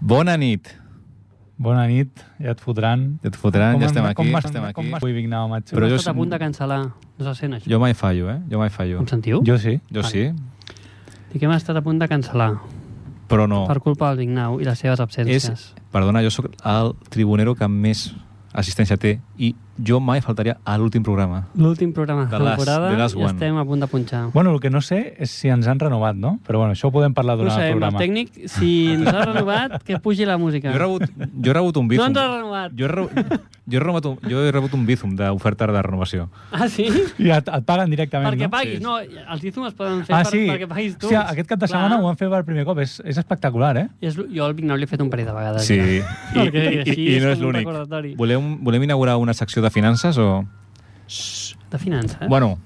Bona nit. Bona nit, ja et fotran. Ja et fotran, ja em- estem aquí, vas- estem com aquí. vas- Ui, Vignau, macho. Però Però jo jo... Estàs sí- a punt de cancel·lar. No se sent, això. Jo mai fallo, eh? Jo mai fallo. Em sentiu? jo sí. Jo sí, Dic que hem estat a punt de cancel·lar però no. per culpa del Vignau i les seves absències. És, perdona, jo sóc el tribunero que més assistència té i jo mai faltaria a l'últim programa. L'últim programa de The la last- temporada the last i one. estem a punt de punxar. Bueno, el que no sé és si ens han renovat, no? Però bueno, això ho podem parlar No ho durant el sabem, el programa. tècnic, si ens ha renovat, que pugi la música. Jo he rebut, jo he rebut un bífum. No ens has renovat. Jo he, re... jo he, rebut un, jo he rebut un bífum d'oferta de renovació. Ah, sí? I et, et paguen directament, perquè no? paguis. Sí. No, els ítoms es poden fer Ah, per, sí. perquè paguis tu. sí, aquest cap de setmana ho han fet per primer cop. És, és espectacular, eh? És, l- jo al Vignau l'he fet un parell de vegades. Sí, Ja. i, i, Perquè i, així i no com és un l'únic. recordatori. Volem, volem inaugurar una secció de finances o...? De finances. Bueno,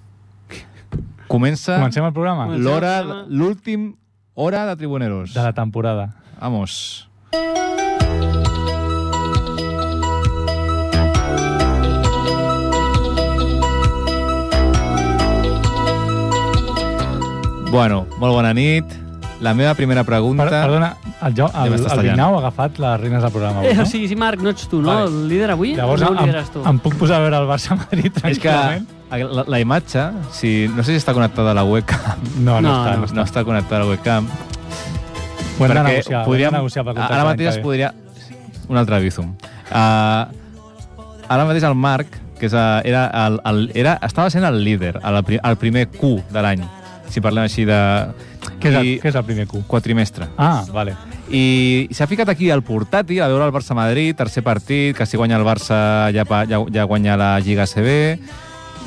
comença Comencem el programa Comencem. el l'hora, programa. l'últim hora de Tribuneros. de la temporada. Vamos. Bueno, molt bona nit. La meva primera Per, pregunta... perdona, el, jo, Ja el, m'estàs el tallant. Vignau ha agafat les regnes del programa. Avui, Eh, no? o sigui, si Marc no ets tu, no? Vale. El líder avui Llavors no ho em, lideres tu. em puc posar a veure el Barça-Madrid és que tranquil·lament? la, la imatge, si, no sé si està connectada a la webcam, No, no, No, està. no. No. no està connectada a la webcam, Ho hem de negociar. Podríem... Hem de negociar per ara mateix es podria... Un altre bizum. Uh, ara mateix el Marc, que és, eh, era el, el, era, estava sent el líder, el, pri- el primer Q de l'any, si parlem així de... Què és, el, i- què és el primer Q? Quatrimestre. Ah, vale. I s'ha ficat aquí al portàtil a veure el Barça-Madrid, tercer partit, que si guanya el Barça ja, pa, ja, ja guanya la Lliga CB.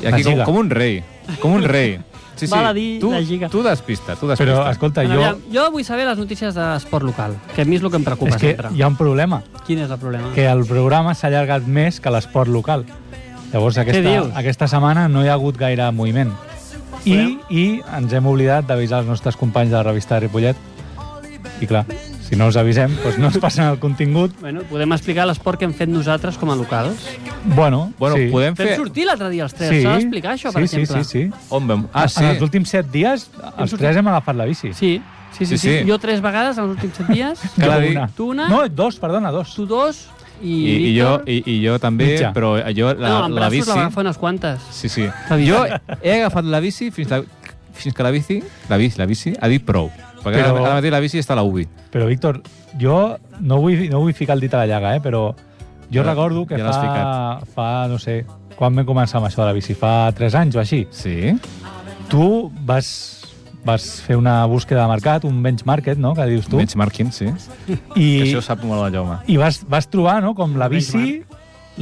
I aquí La com, Lliga. com un rei, com un rei. Sí, sí. Val a dir tu, la Lliga. Tu despista, tu despista. Però, escolta, Bueno, jo... aviam, jo vull saber les notícies d'esport local, que a mi és el que em preocupa És que sempre. hi ha un problema, Quin és el problema? que el programa s'ha allargat més que l'esport local. Llavors, aquesta, dius? aquesta setmana no hi ha hagut gaire moviment. I, I ens hem oblidat d'avisar els nostres companys de la revista Ripollet. I clar, si no els avisem, doncs no ens passen el contingut. Bueno, podem explicar l'esport que hem fet nosaltres com a locals? Bueno, Bueno, sí. podem Fem fer... sortir l'altre dia els tres, s'ha d'explicar això, per sí, sí, exemple. Sí, sí, On vam? Ah, sí. En els últims set dies, els sortit- tres hem agafat la bici. Sí, Sí, sí, sí, sí, sí. Jo tres vegades en els últims set dies, Cal Jo dir- Tu una? No, dos, perdona, dos. tu dos i, I, i, jo, Víctor... i, i jo també, Mitja. però jo la, no, en la braços bici... la va fer unes quantes. Sí, sí. T'ha dit. Jo he agafat la bici fins, la, fins que la bici, la bici, la bici ha dit prou. Perquè Però- però... ara mateix la bici està a la UBI. Però, Víctor, jo no vull, no vull ficar el dit a la llaga, eh? però Ja- jo recordo que ja l'has fa, fa, no sé, quan vam començar amb això de la bici? Fa 3 anys o així. Sí. Tu vas, vas fer una búsqueda de mercat, un benchmarket, no?, que dius tu, Benchmarking, sí. I... i, Això ho sap molt el Jaume. i vas, vas trobar no, com la bici,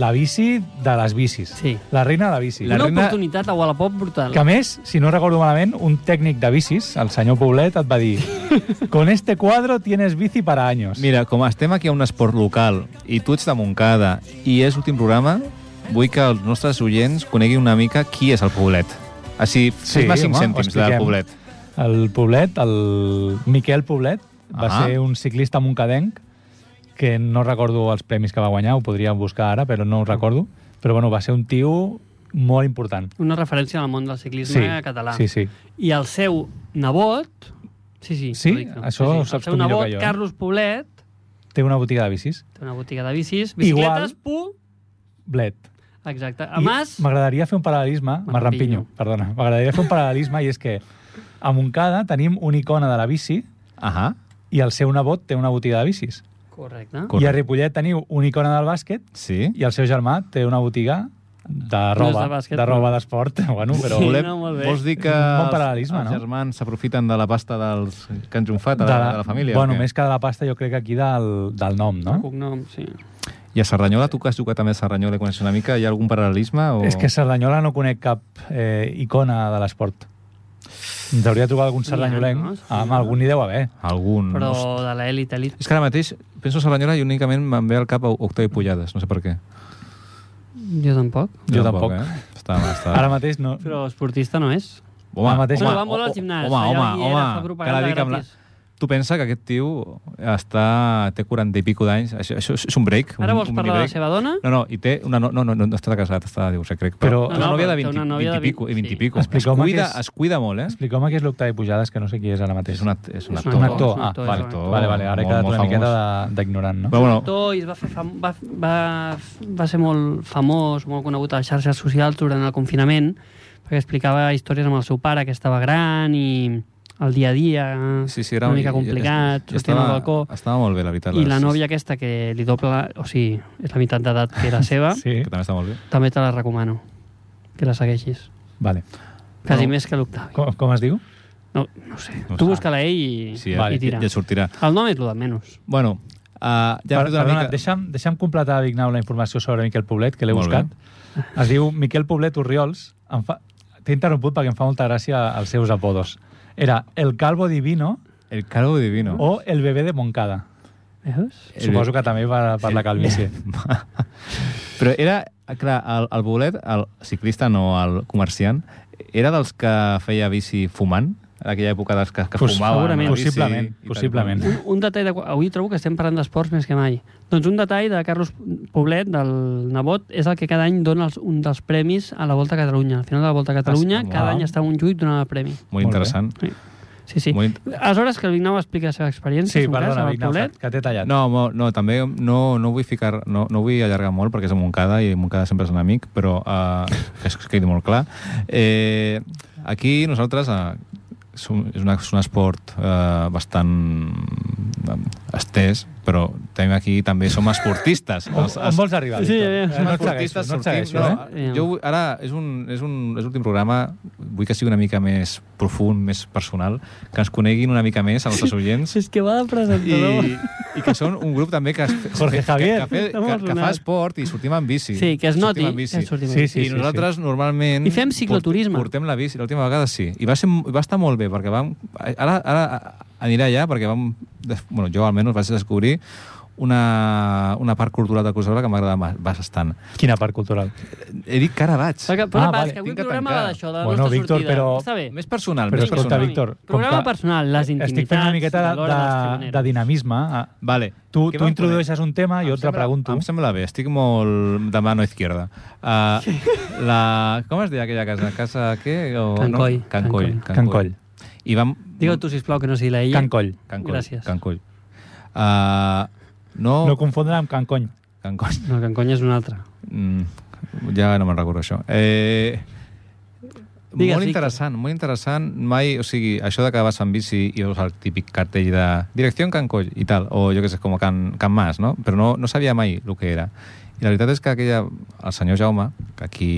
la bici de les bicis. Sí. La reina de la bici. La Una reina- oportunitat a Wallapop brutal. Que a més, si no recordo malament, un tècnic de bicis, el senyor Poblet, et va dir «Con este cuadro tienes bici para años». Mira, com estem aquí a un esport local i tu ets de Montcada i és l'últim programa, vull que els nostres oients coneguin una mica qui és el Poblet. Així, sí, Sí, 5 home, ho cèntims del expliquem. Poblet. El Poblet, el Miquel Poblet, va Ah. ser un ciclista moncadenc que no recordo els premis que va guanyar, ho podríem buscar ara, però no ho recordo. Però bueno, va ser un tio molt important. Una referència al món del ciclisme català. sí, sí. I el seu nebot... Sí, sí. Sí? correcte. Això ho saps El seu tu millor nebot, que jo, eh? Carlos Poblet, Té una botiga de bicis. té una botiga de bicis, Igual. bicicletes, pu... Blet. Exacte. A I Mas... M'agradaria fer un paral·lelisme... Marrampinyo. Marrampinyo, perdona. M'agradaria fer un paral·lelisme i és que a Montcada tenim una icona de la bici Ahà. i el seu nebot té una botiga de bicis. Correcte. Correcte. I a Ripollet teniu una icona del bàsquet Sí. i el seu germà té una botiga de roba, de bàsquet, de roba però- d'esport, bueno, però Sí. sí. Volem, no, no, molt bé. vols dir que És un bon els- paral·lelisme, els no? germans s'aprofiten de la pasta dels que han triomfat, de, de, la, de la família? Bueno, o què? Oh. més que de la pasta, jo crec que aquí del, del nom, El no? cognom, sí. I a Cerdanyola, tu que has jugat també a Cerdanyola i coneixes una mica, hi ha algun paral·lelisme? O... És que a Cerdanyola no conec cap eh, icona de l'esport. Ens hauria de trobar algun N'hi ha, cerdanyolenc. no? Ah, amb algun hi deu haver. Algun... Però Hosti. de l'elit, elit... És que ara mateix penso a Cerdanyola i únicament me'n ve al cap Octavi Pullades, no sé per què. Jo tampoc. Jo tampoc. Eh? Està, està... Ara mateix no. Però esportista no és. Home, ara mateix- home, Bueno, va molt al oh, gimnàs, Home, allà home, hi era, fa home. propaganda Cada dia que amb la... gratis. Tu pensa que aquest tio està, té 40 i pico d'anys, això, això, és un break. Ara un, vols un parlar de la mini-break. seva dona? No, no, i té una... No, no, no, no està casat, està de divorciat, crec. Però, Però- una No, no, nòvia de però té 20, una nòvia 20 de i pico. I 20 i sí. pico. Es Explica'm cuida, que és- es cuida molt, eh? Explica'm qui és l'Octavi Pujades, que no sé qui és ara mateix. És un, act- és un És un actor. Un actor, actor. és Ah, un actor, vale, és un actor. vale, vale, ara he Molt, quedat molt una miqueta famós. de- d'ignorant, no? Però bueno, actor i es va, fer fam... va, va, va ser molt famós, molt conegut a les xarxes socials durant el confinament, perquè explicava històries amb el seu pare, que estava gran i el dia a dia, sí, sí, era una mica complicat, i sortint estava, al balcó, Estava molt bé, la veritat. i la nòvia aquesta que li dobla, o sigui, és la meitat d'edat que era seva, sí. Sí, Que també està molt bé. també te la recomano, que la segueixis. vale. Quasi No. més que l'Octavi. Com, com es diu? No, no ho sé. No ho tu sé. busca-la ell i, Sí, i ja, tira. ja, ja sortirà. El nom és el de menys. Bueno, uh, ja Per, hem fet una perdona, mica... deixa'm, deixa'm completar, Vignau, la informació sobre Miquel Poblet, que l'he Molt buscat. Es diu Miquel Poblet Urriols. Em fa... T'he interromput perquè em fa molta gràcia els seus apodos. Era El Calvo Divino El calvo divino. o El Bebé de Moncada. Veus? El- Suposo que també per, per la calvície. Però era, clar, el, el bolet, el ciclista, no el comerciant, era dels que feia bici fumant? En aquella època dels que, que Pues, fumaven. segurament. la bici Possiblement, i tal i possiblement. qual. Un, un detall de... Avui trobo que estem parlant d'esports més que mai. Doncs un detall de Carlos Poblet, del nebot, és el que cada any dona els, un dels premis a la Volta a Catalunya. Al final de la Volta a Catalunya, Ah, sí, cada wow. any està un juic donant el premi. Molt Molt bé. interessant. Sí, sí. Molt int- Aleshores, que el Vignau explica la seva experiència, Sí, en un cas, perdona, amb el Vignau, que, Poblet. que t'he tallat. No, mo- no, també no, no vull ficar, no, no vull allargar molt perquè és a Montcada i Montcada sempre és un amic, però eh, que es quedi molt clar. Eh, aquí nosaltres eh, és, un, és, una, és un esport eh, bastant eh, estès, però també aquí també som esportistes. On, Els- on els- vols arribar, Sí, Víctor? ja, ja. Eh, Som No et segueixo, esportistes, no et sortim... segueixo, eh? no, jo vull, ara és un, és un és l'últim programa, vull que sigui una mica més profund, més personal, que ens coneguin una mica més als nostres oients És que va de i, presentador. i que són un grup també que, es- Jorge que, Javier. que, que, que, que fa esport i sortim amb bici. Sí, que es Sortim noti. amb bici. Que es surti amb Sí, Sí, bici. I nosaltres sí. normalment... I fem cicloturisme. Port, portem la bici, l'última vegada sí. I va, ser, va estar molt bé, perquè vam... Ara, ara aniré allà, perquè vam... des- Bueno, jo almenys vaig descobrir una, una part cultural de Cruzabra que m'agrada ma- bastant. Quina part cultural? He dit que ara vaig. Però, que, però Ah, ah, vale, vale, que avui tinc el que programa tancar. va d'això, de la Bueno, nostra Víctor, sortida. però- Està bé. Més personal, Però més escolta, personal. Víctor, com Programa que personal, les Estic fent una intimitats, miqueta la de, Lola, les de, tribuneres. de dinamisme. Ah, Vale. Tu, Què tu vam introdueixes un tema, jo Em et repregunto. Em sembla bé, estic molt de mano izquierda. Uh, la, com es deia aquella casa? Casa què? O, Can Coll. No? Can Coll. Can Coll. I vam... Digue-ho tu, sisplau, que no sigui la ella. Can Coll. Can Coll. Gràcies. Can Coll. Uh, no... Oh. No confondre amb Can Cony. Can Coll. No, Can Coll és un altre. Mm, ja no me'n recordo això. Eh, Digues, molt Víctor. interessant, molt interessant. Mai, o sigui, això de que vas amb bici i veus el típic cartell de direcció Can Coll i tal, o jo què sé, com a Can, Can Mas, no? Però no, no sabia mai el que era. I la veritat és que aquella, el senyor Jaume, que aquí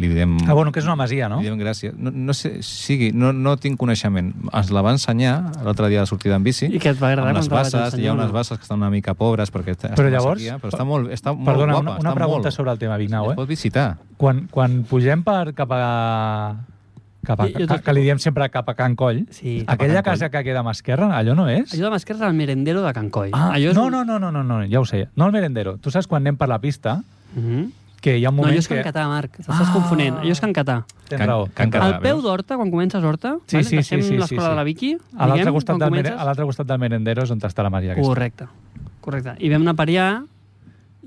li direm... Ah, bueno, que és una masia, no? Li diem gràcies. No, no sé, sigui, no, no tinc coneixement. Ens la va ensenyar l'altre dia a la sortida en bici. I que et va agradar amb les quan te la vaig bases, hi ha ensenyar, unes no? bases que estan una mica pobres perquè està, estan Però a llavors- sequia, però està molt, està molt Perdona, guapa. una, una està pregunta molt, sobre el tema, Vignau, Es eh? pot visitar. Quan, quan pugem per cap a... Cap a Jo- jo que, que li diem sempre cap a Can Coll, Sí. aquella Cap a Can casa que queda a mà esquerra, allò no és? Allò de Masquerra és el merendero de Can Coll. Ah, Allò és no, un- no, no, no, no, no, ja ho sé. No el merendero. Tu saps quan anem per la pista Mhm. que hi ha un No, moment allò és Can que... Catà, Marc. T'estàs Ah. confonent. Allò és Can Catà. Tens Can- raó. Can tens raó. Catà. Al peu veus? d'horta, quan comences horta, Sí, vale? sí, sí, Deixem sí, sí, l'escola sí. de la Vicky, A l'altre diguem, costat, quan del, mere- comences- a l'altre costat del merendero és on està la Maria aquesta. Correcte. Correcte. I vam anar per allà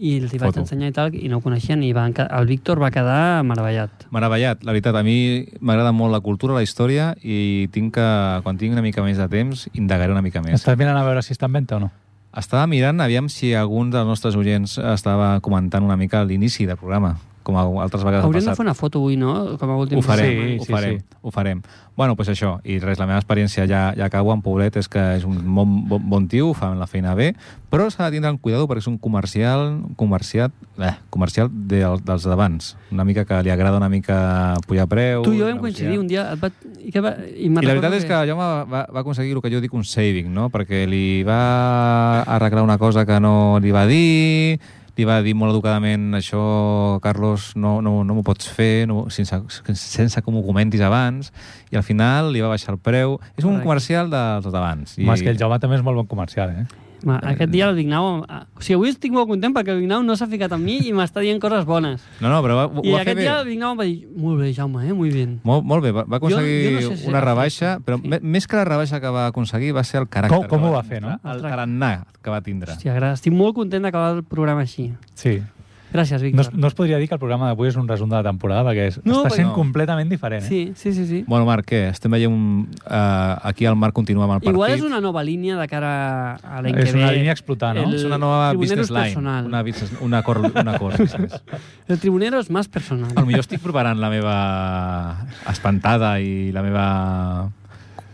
i els hi vaig Foto. ensenyar i tal, i no ho coneixien, i van, ca- el Víctor va quedar meravellat. Meravellat, la veritat, a mi m'agrada molt la cultura, la història, i tinc que, quan tinc una mica més de temps, indagaré una mica més. Estàs mirant a veure si està en venda o no? Estava mirant, aviam si algun dels nostres oients estava comentant una mica l'inici del programa, com altres vegades Hauríem ha de passat. fer una foto avui, no? Com a últim Ho farem, programa. eh? sí, ho farem, sí, sí. ho farem. Bueno, doncs això, i res, la meva experiència ja, ja acabo amb Poblet, és que és un bon, bon, bon tio, fa la feina bé, però s'ha de tindre en cuidado perquè és un comercial, comerciat, eh, comercial de, dels d'abans, una mica que li agrada una mica pujar preu... Tu i jo vam coincidir un dia... Et va, i, que va, i, me'n I la veritat recordo és que Jaume va, va aconseguir el que jo dic un saving, no? Perquè li va arreglar una cosa que no li va dir, li va dir molt educadament això, Carlos, no, no, no m'ho pots fer no, sense, sense que m'ho comentis abans, i al final li va baixar el preu. És un Correcte. comercial dels d'abans. I... Home, és que el Jaume també és molt bon comercial, eh? Ma, Aquest dia el Vignau... ah, O sigui, avui estic molt content perquè el Vignau no s'ha ficat amb mi i m'està dient coses bones. No, no, però va, ho, I ho va fer aquest bé. dia el Vignau em va dir molt bé, Jaume, eh? Molt bé. Molt, molt bé, va, va Jo- jo no aconseguir sé si una era rebaixa, fàcil, però sí. me- més que la rebaixa que va aconseguir va ser el caràcter. Com- com que ho va fer, no? mostrar, El tarannà que va tindre. Hòstia, gra- estic molt content d'acabar el programa així. Sí. No, es- Gràcies, Víctor. no es podria dir que el programa d'avui és un resum de la temporada, perquè es, No, està perquè- sent No. completament diferent. Eh? Sí, sí, sí. sí. Bueno, Marc, què? Estem veient un... eh, aquí el Marc continua amb el partit. Igual és una nova línia de cara a l'any que ve. És una línia a explotar, no? El- És una nova Tribuneros business line. personal. Una, business, un acord, un acord business. El tribunero és més personal. Al millor estic preparant la meva espantada i la meva...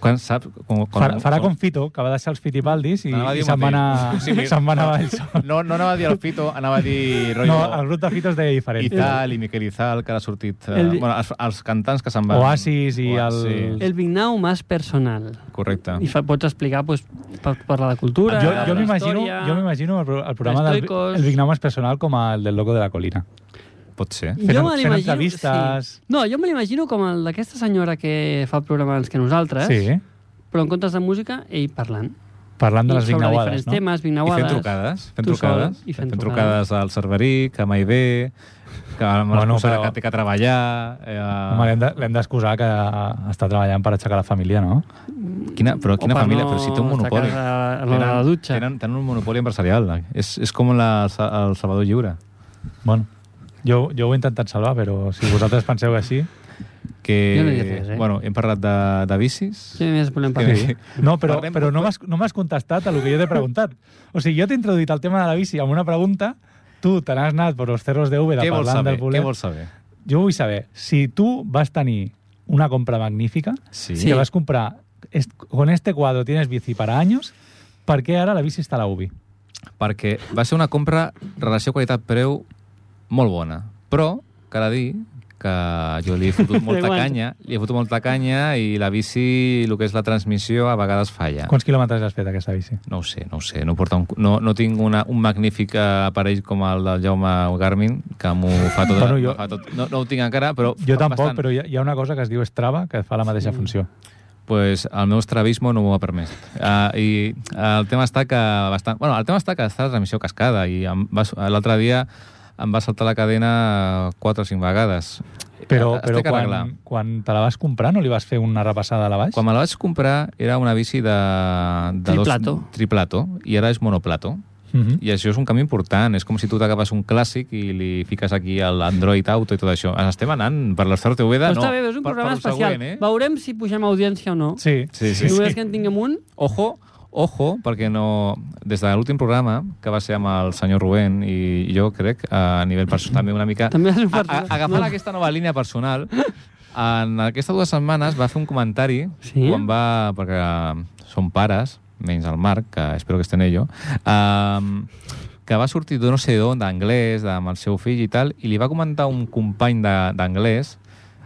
Quan sap? Com, com, Farà, farà com Fito, que va deixar els Fitipaldis i, Anava a dir i el se'n va anar, mateix. Sí, sí. se'n va anar a Vallsó. No, no anava a dir el Fito, anava a dir No, rotllo el grup de Fito es deia diferent. Izal i Miquel Izal, que ha sortit... Eh, El- bueno, els, els cantants que se'n van... Oasis i el- El Vignau més personal. Correcte. I fa, pots explicar, doncs, per, per la cultura, Jo, la jo m'imagino història... jo m'imagino el, pro- el programa del Estoicos. el Big Now més personal com el del Loco de la Colina. Pot ser. Fent- me fent l'imagino- entrevistes. Sí. No, jo me l'imagino com el d'aquesta senyora que fa el programa abans que nosaltres, Sí, però en comptes de música, ell parlant. parlant de I les sobre vignauades, diferents no? temes, I vignauades... fent trucades. Fent Tu trucades. sol, i fent trucades al Cerveric, a Maibé, que amb bueno, Bueno, l'excusa però- que té que treballar... Eh, Home, l'hem de- L'hem d'excusar que eh, està treballant per aixecar la família, no? Quina, però quina Opa, família, no, però si té un està monopoli. a casa, a la dutxa. Tenen, tenen un monopoli empresarial. És, és com la, el Salvador Lliure, Bueno, jo, jo ho he intentat salvar, però si vosaltres penseu així... que... Jo no he dit res, eh? Bueno, hem parlat de, de bicis. Què més volem parlar? Sí. No, però, Parlem- però no m'has no m'has contestat a lo que jo t'he preguntat. O sigui, jo t'he introduït el tema de la bici amb una pregunta, tu te n'has anat per los cerros de Úbeda Què vols parlant saber? del Què bolet. vols saber? Jo vull saber, si tu vas tenir una compra magnífica, Sí. que vas comprar est- con este cuadro tienes bici para años, per què ara la bici està a la UBI? Perquè va ser una compra relació qualitat-preu molt bona. Però, cal dir que jo li he fotut molta Aguanta. canya, li he fotut molta canya i la bici, el que és la transmissió, a vegades falla. Quants quilòmetres has fet aquesta bici? No ho sé, no ho sé. No, porta un, no, no tinc una, un magnífic eh, aparell com el del Jaume Garmin, que m'ho fa tot... Bueno, jo- fa tot no, no ho tinc encara, però... Jo fa tampoc, bastant. Eh, però hi ha, hi ha una cosa que es diu Strava que fa la mateixa funció. pues el meu estrabismo no m'ho ha permès. Uh, I el tema està que bastant... Bueno, el tema està que està la transmissió cascada i em va su- l'altre dia em va saltar la cadena quatre o cinc vegades. Però, Es té però que arreglar. quan, quan te la vas comprar no li vas fer una repassada a la baix? Quan me la vaig comprar era una bici de... de Triplato. Dos, triplato. I ara és monoplato. Mhm. I això és un canvi important. És com si tu t'agafes un clàssic i li fiques aquí el Android Auto i tot això. Ens estem anant per l'Estar TV de... Però no, està bé, és un per- per programa lo especial. Següent, eh? Veurem si pugem audiència o no. Sí. Sí, sí. Només que en tinguem un, Ojo, ojo, perquè no... Des de l'últim programa, que va ser amb el senyor Rubén, i jo crec, a nivell personal, també una mica... També és un a, a, personal. agafant aquesta nova línia personal, en aquestes dues setmanes va fer un comentari, Sí? quan va... Perquè són pares, menys el Marc, que espero que esté en ello, um, que va sortir de no sé d'on, d'anglès, de- amb el seu fill i tal, i li va comentar un company de- d'anglès,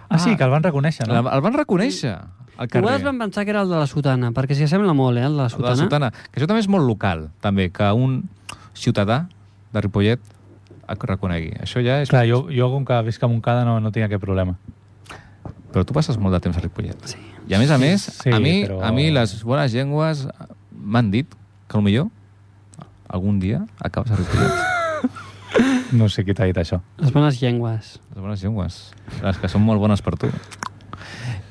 Ah, sí, que el van reconèixer, la- no? el van reconèixer, al carrer. igual es van pensar que era el de la sotana, perquè s'hi assembla molt, eh, el de de la la sotana. sotana. Que això també és molt local, també, que un ciutadà de Ripollet et reconegui. Això ja és... Clar, jo, jo com que visc a Montcada no, no tinc aquest problema. Però tu passes molt de temps a Ripollet. Sí. I a més a més, sí, a, mi, però- a mi les bones llengües eh, m'han dit que el millor algun dia acabes a Ripollet. No sé qui t'ha dit això. Les bones llengües. les bones llengües, les que són molt bones per tu.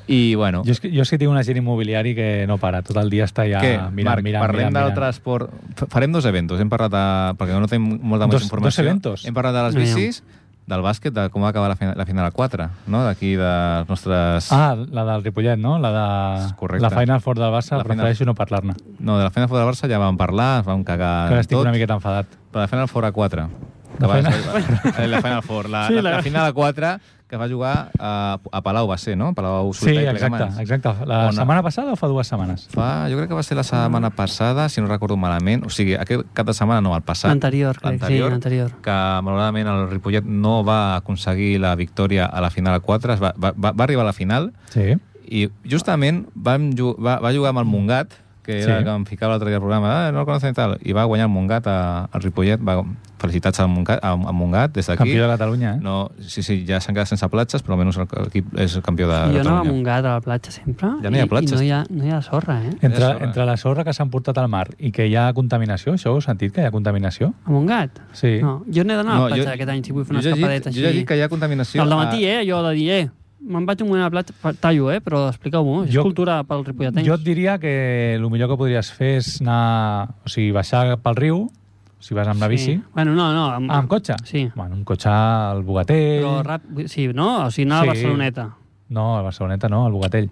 I, bueno... Jo és, que, jo és que tinc un agent immobiliari que no para, tot el dia està ja Què, mirant, Marc, mirant, parlem mirant, del mirant. transport... F- Farem dos eventos, hem parlat de... perquè no tenim molta més Dos- informació. dos eventos. Hem parlat de les Ja. bicis, del bàsquet, de com va acabar la, fina, la final 4, no? D'aquí dels nostres... Ah, la del Ripollet, no? La de... Correcte. La Final Four del Barça, La final- prefereixo no parlar-ne. No, de la final fora de Barça ja vam parlar, ens vam cagar Que en estic Ah, tot. una miqueta enfadat. Però la final fora 4. La La, final- final... la final fora. La, Sí, la, la- la, final 4 que va jugar a, a Palau va ser, no? Palau Sí, Solità i exacte, Plegamans. exacte. La O no? setmana passada o fa dues setmanes? Fa, jo crec que va ser la setmana passada, si no recordo malament. O sigui, aquest cap de setmana no, el passat. L'anterior, crec, sí, l'anterior. Que malauradament el Ripollet no va aconseguir la victòria a la final 4, es va, va, va arribar a la final Sí. i justament vam, ju- va, va jugar amb el Montgat, que, Sí. era, que em ficava l'altre dia al programa, ah, no el coneixen i tal, i va guanyar el Montgat a, al Ripollet, va, felicitats al Montgat, a, a Montgat des d'aquí. Campió de Catalunya, eh? No, sí, sí, ja s'han quedat sense platges, però almenys el- l'equip és el campió de jo anava amb Catalunya. un gat a la platja sempre Ja no hi ha i, i platges. no, hi ha, no hi ha sorra, eh? Entre, sorra. entre la sorra que s'han portat al mar i que hi ha contaminació, això ho heu sentit, que hi ha contaminació? Amb un gat? Sí. No, jo n'he d'anar a la platja jo- aquest any si vull fer jo una he llegit- escapadeta així. Jo he llegit que hi ha contaminació. Al matí, eh? Jo de dir, eh, me'n vaig un moment a la platja, pa- tallo, eh? Però expliqueu-m'ho, és Jo- cultura pel ripolletens. Jo et diria que el millor que podries fer és anar... O sigui, baixar pel riu, si vas amb la bici. Sí. Bueno, no, no. Amb, Ah, amb cotxe? Sí. Bueno, amb cotxe al Bogatell... Però rap... Sí, no? O sigui, anar Sí. a Barceloneta. No, a Barceloneta no, al Bogatell.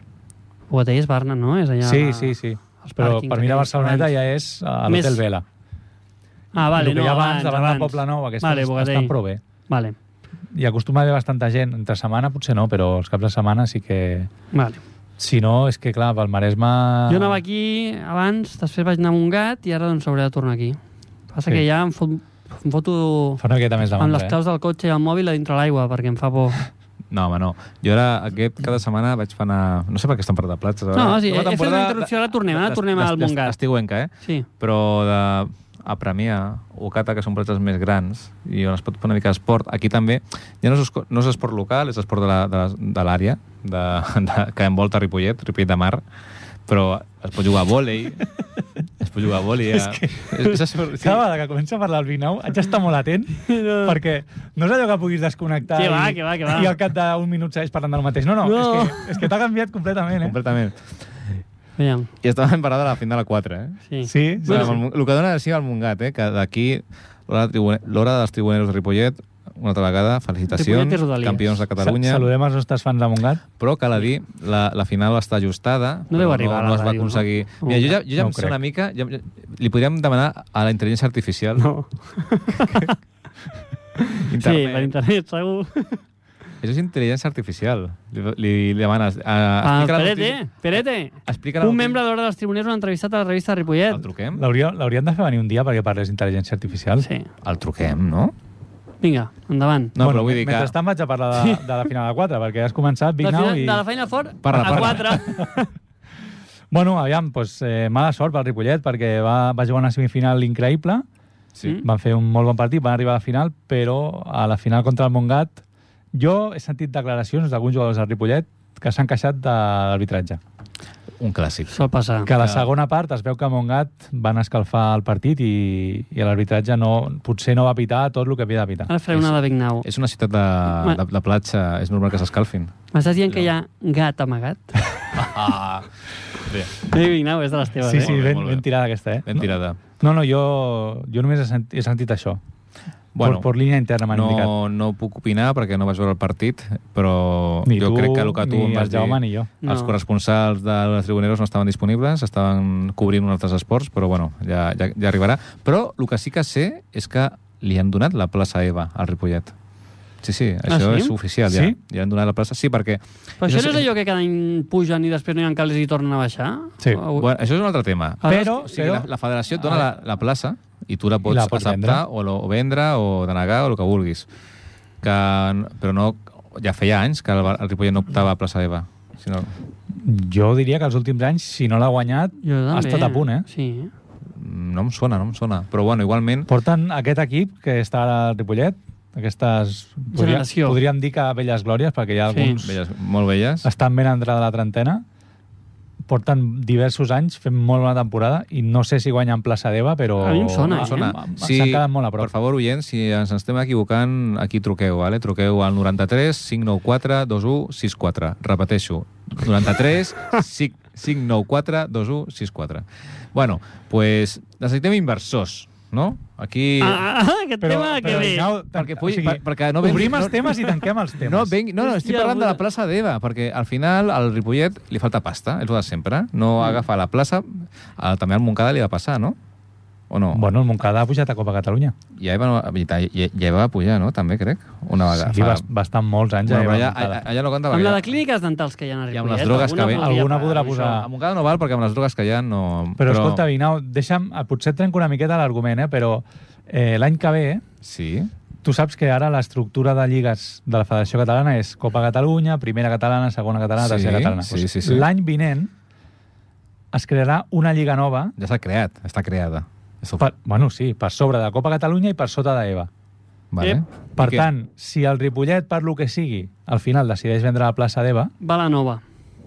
Bogatell és Barna, no? És allà... Sí, sí, sí. els Però pàrquings per mi la aquells Barceloneta grans. ja és eh, a Més- l'Hotel Vela. Ah, vale, el que no, hi ha abans, abans, davant abans. del Poble Nou, aquesta vale, vale, Bogatell. estan prou bé. Vale, I acostuma a haver bastanta gent. Entre setmana potser no, però els caps de setmana sí que... vale. Si no, és que clar, pel Maresme... Jo anava aquí abans, després vaig anar amb un gat i ara doncs hauré de tornar aquí. Passa Sí. que ja em, fot, em foto Fa una miqueta més de eh? amb mandra, les claus del cotxe i el mòbil a dintre l'aigua perquè em fa por. No, home, no. Jo ara aquest cada setmana vaig fer anar... No sé per què estan per de plats. No, sí, he fet una interrupció, ara tornem, ara tornem al Montgat. Estiuenca, eh? Sí. Però de, a Premià o Cata, que són platges més grans i on es pot fer una mica d'esport, aquí també ja no és, esco- no és esport local, és esport de l'àrea la, de, les- de, l'àrea, de, de, que envolta Ripollet, Ripollet de Mar, però es pot jugar a vòlei, es pot jugar a vòlei. És que... És, és, esport- eh? Cada vegada que comença a parlar el Vinau, haig d'estar molt atent, perquè no és allò que puguis desconnectar Que i, va, que va, que va. i al cap d'un minut segueix parlant del mateix. No, no, No. és que, és que t'ha canviat completament, eh? Completament. Aviam, I estàvem parlant de la final de la 4, eh? sí. Sí, sí. Bueno, sí. El que dona sí al Montgat, eh? que d'aquí l'hora de tribune- l'hora dels tribuneros de Ripollet, una altra vegada, felicitacions, Ripollet i Rodalies. campions de Catalunya, Sa- Saludem els nostres fans de Montgat. però cal a dir, la, la final va estar ajustada, No però deu no, arribar a la no es va ràdio, no? aconseguir. No. Mira, jo ja, jo ja No em ho sé crec. una mica, ja, ja- li podríem demanar a la intel·ligència artificial, No. Sí, per internet. internet, segur. Això és intel·ligència artificial. Li, li, li demanes... A, Ah, explica la Perete, notícia- Perete. Explica la Un notícia- membre de l'Hora dels Tribuners ho ha entrevistat a la revista El Ripollet. truquem? L'hauria- L'haurien de fer venir un dia perquè parles d'intel·ligència artificial. Sí. El truquem, no? Vinga, endavant. No, però vull dir que... Mentrestant vaig a parlar de, de la final de 4, perquè has començat Big de, Now final, i... de la feina fort Parla, a parla. 4. Bueno, aviam, doncs, eh, mala sort pel Ripollet, perquè va, va jugar una semifinal increïble, Sí. Mm. van fer un molt bon partit, van arribar a la final, però a la final contra el Montgat jo he sentit declaracions d'alguns jugadors del Ripollet que s'han queixat de l'arbitratge. Un clàssic. Sol passar. Que a la Ah. segona part es veu que a Montgat van escalfar el partit i, i l'arbitratge no, potser no va pitar tot el que havia de pitar. Ara faré una de Big Now. És una ciutat de, Ma- de, de platja, és normal que s'escalfin. M'estàs dient que hi ha gat amagat? Ah, bé, Ei, Big Now, és de les teves, eh? Sí, sí, Molt bé, ben, molt bé. ben tirada aquesta, eh? ben tirada. No, no, jo, jo només he sentit, he sentit això. Bueno, Bueno, per, per línia interna m'han indicat. No, no puc opinar perquè no vaig veure el partit, però Ni jo tu, crec que el que tu ni em vas el Jaume, dir... ni jo. Els No. corresponsals de les tribuneros no estaven disponibles, estaven cobrint uns altres esports, però bueno, ja, ja, ja arribarà. Però el que sí que sé és que li han donat la plaça EVA al Ripollet. Sí, sí, això Ah, sí? és oficial, ja. Sí? Ja han donat la plaça. Sí, perquè... Però això sé- no és allò que cada any pugen i després no hi ha calés i tornen a baixar? Sí. O- Bueno, això és un altre tema. Ara, Però, O sigui, però Ah. la, la federació et dona la, la plaça i tu la pots, I la pots acceptar o, lo, o vendre o denegar o el que vulguis. Que, n- però no, ja feia anys que el, Bar- el Ripollet no optava a plaça EVA. Sinó, jo diria que els últims anys, si no l'ha guanyat, Jo també. ha estat a punt, eh? Sí. mm, no em sona, no em sona. Però bueno, igualment... Porten aquest equip que està ara al Ripollet, aquestes... podria- Generació. Podríem dir que velles glòries, perquè hi ha Sí. alguns... Belles, molt belles. Estan ben entrada a la trentena, porten diversos anys fent molt bona temporada i no sé si guanyen plaça d'Eva, però... A mi em sona, Em eh? sona. Sí, S'han quedat molt a prop. Per favor, oients, si ens estem equivocant, aquí truqueu, vale? truqueu al 93 594 2164. Repeteixo, 93 5- 594 2164. Bueno, pues necessitem inversors, no? Aquí... Ah, ah, aquest tema que ve. Arnau, Perquè tan- pugui- per- perquè no vengui- obrim els no- temes i tanquem els temes. No, vengui, no, no, estic Hòstia, parlant de la puta. plaça d'Eva, perquè al final al Ripollet li falta pasta, és el de sempre. Mm. No agafa la plaça, a, també al Montcada li va passar, no? O no? Bueno, el Montcada ha pujat a Copa Catalunya. Ja Eva, no, ja, ja, ja va pujar, no? També, crec. Una vegada. Sí, fa- bast- bastant molts anys. eh? Bueno, però ja hi va allà, Montcada. allà, allà no compta Amb perquè... la de clíniques dentals que hi ha I a Ripollet. amb les drogues que ve. podria Alguna parar, podrà això. posar. A Montcada no val perquè amb les drogues que hi ha no... Però, però escolta, Vinau, deixa'm, eh, potser et trenco una miqueta l'argument, eh? però eh, l'any que ve, eh, Sí, tu saps que ara l'estructura de lligues de la Federació Catalana és Copa Catalunya, Primera Catalana, Segona Catalana, Sí, Tercera Catalana. sí, sí, sí. L'any vinent es crearà una lliga nova Ja s'ha creat, està creada. Això- per, bueno, sí, per sobre de Copa Catalunya i per sota d'EVA. vale. Ep. Per I què? tant, si el Ripollet, per lo que sigui, al final decideix vendre la plaça d'EVA, Va la nova.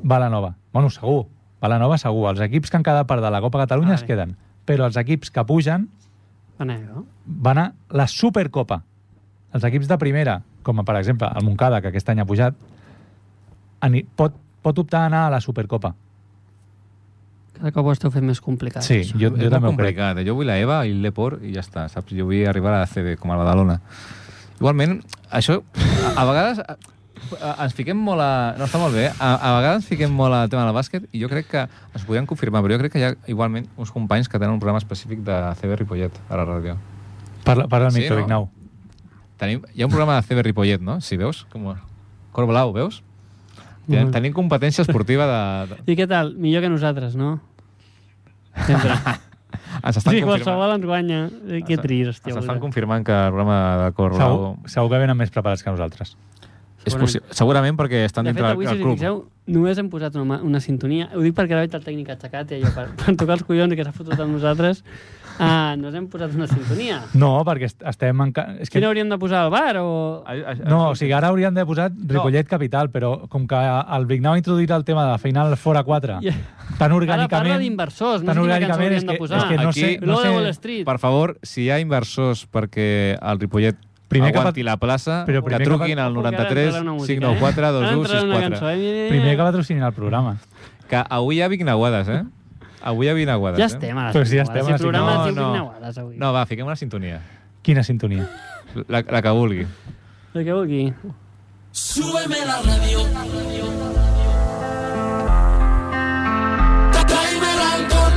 va la nova. Bueno, segur, va la nova segur. Els equips que han quedat part de la Copa Catalunya Vale. es queden, però els equips que pugen Van a EVA. van a la Supercopa. Els equips de primera, com per exemple el Moncada, que aquest any ha pujat, ani- pot, pot optar a anar a la Supercopa. Cada cop ho esteu fent més complicat. Sí, això. jo, és jo molt també ho crec. complicat. eh? Jo vull la EVA i l'Eport i ja està, saps? Jo vull arribar a la CB, com a la Badalona. Igualment, això, a, a vegades a, a, ens fiquem molt a... No, està molt bé. A, a vegades ens fiquem molt al tema del bàsquet i jo crec que ens podien confirmar, però jo crec que hi ha igualment uns companys que tenen un programa específic de CB Ripollet a la ràdio. Parla, parla el Sí, micro, no? Vignau. Tenim, hi ha un programa de CB Ripollet, no? Si veus, com... Cor Blau, veus? Tenim, Mhm. tenim competència esportiva de... de I què tal? Millor que nosaltres, no? Sempre. ens estan sí, confirmant, qualsevol ens guanya. Eh, Que trist, ens tio. estan confirmant que el programa de Cor Blau... Segur, segur que venen més preparats que nosaltres. És possi- segurament perquè estan De fet, dintre avui, del si us club. fixeu, només hem posat una, ma- una sintonia. Ho dic perquè ara veig el tècnic aixecat i allò per, per tocar els collons que s'ha fotut amb nosaltres. Ah, no hem posat una sintonia. No, perquè est- estem... Enca... És que... Quina hauríem de posar al bar? O... No, o sigui, ara haurien de posar Ripollet Capital, però com que el Vignau ha introduït el tema de la final fora 4, Ja. tan Ara parla orgànicament... d'inversors, no tan sé quina cançó orgànicament hauríem és de que, posar. és que no Aquí- sé... No Lo de Wall sé Street. Per favor, si hi ha inversors perquè el Ripollet Primer primer que aguanti pat- la plaça, però que primer que truquin pat- al Ojo, que ara 93 entrarà una música, 594 eh? Ara entrarà una 2264. cançó, eh? primer que va patrocinar el programa. Que avui hi ha vignaguades, eh? Avui hi ha vignaguades, Ja eh? estem a les Però si Pues ja cinc estem hores. a les el programa cinc es hores. No, diu no. Quina Guades, avui. No, va, fiquem una sintonia. Quina sintonia. La, la que vulgui. El que vulgui. Súbeme la radio. Tráeme el alcohol.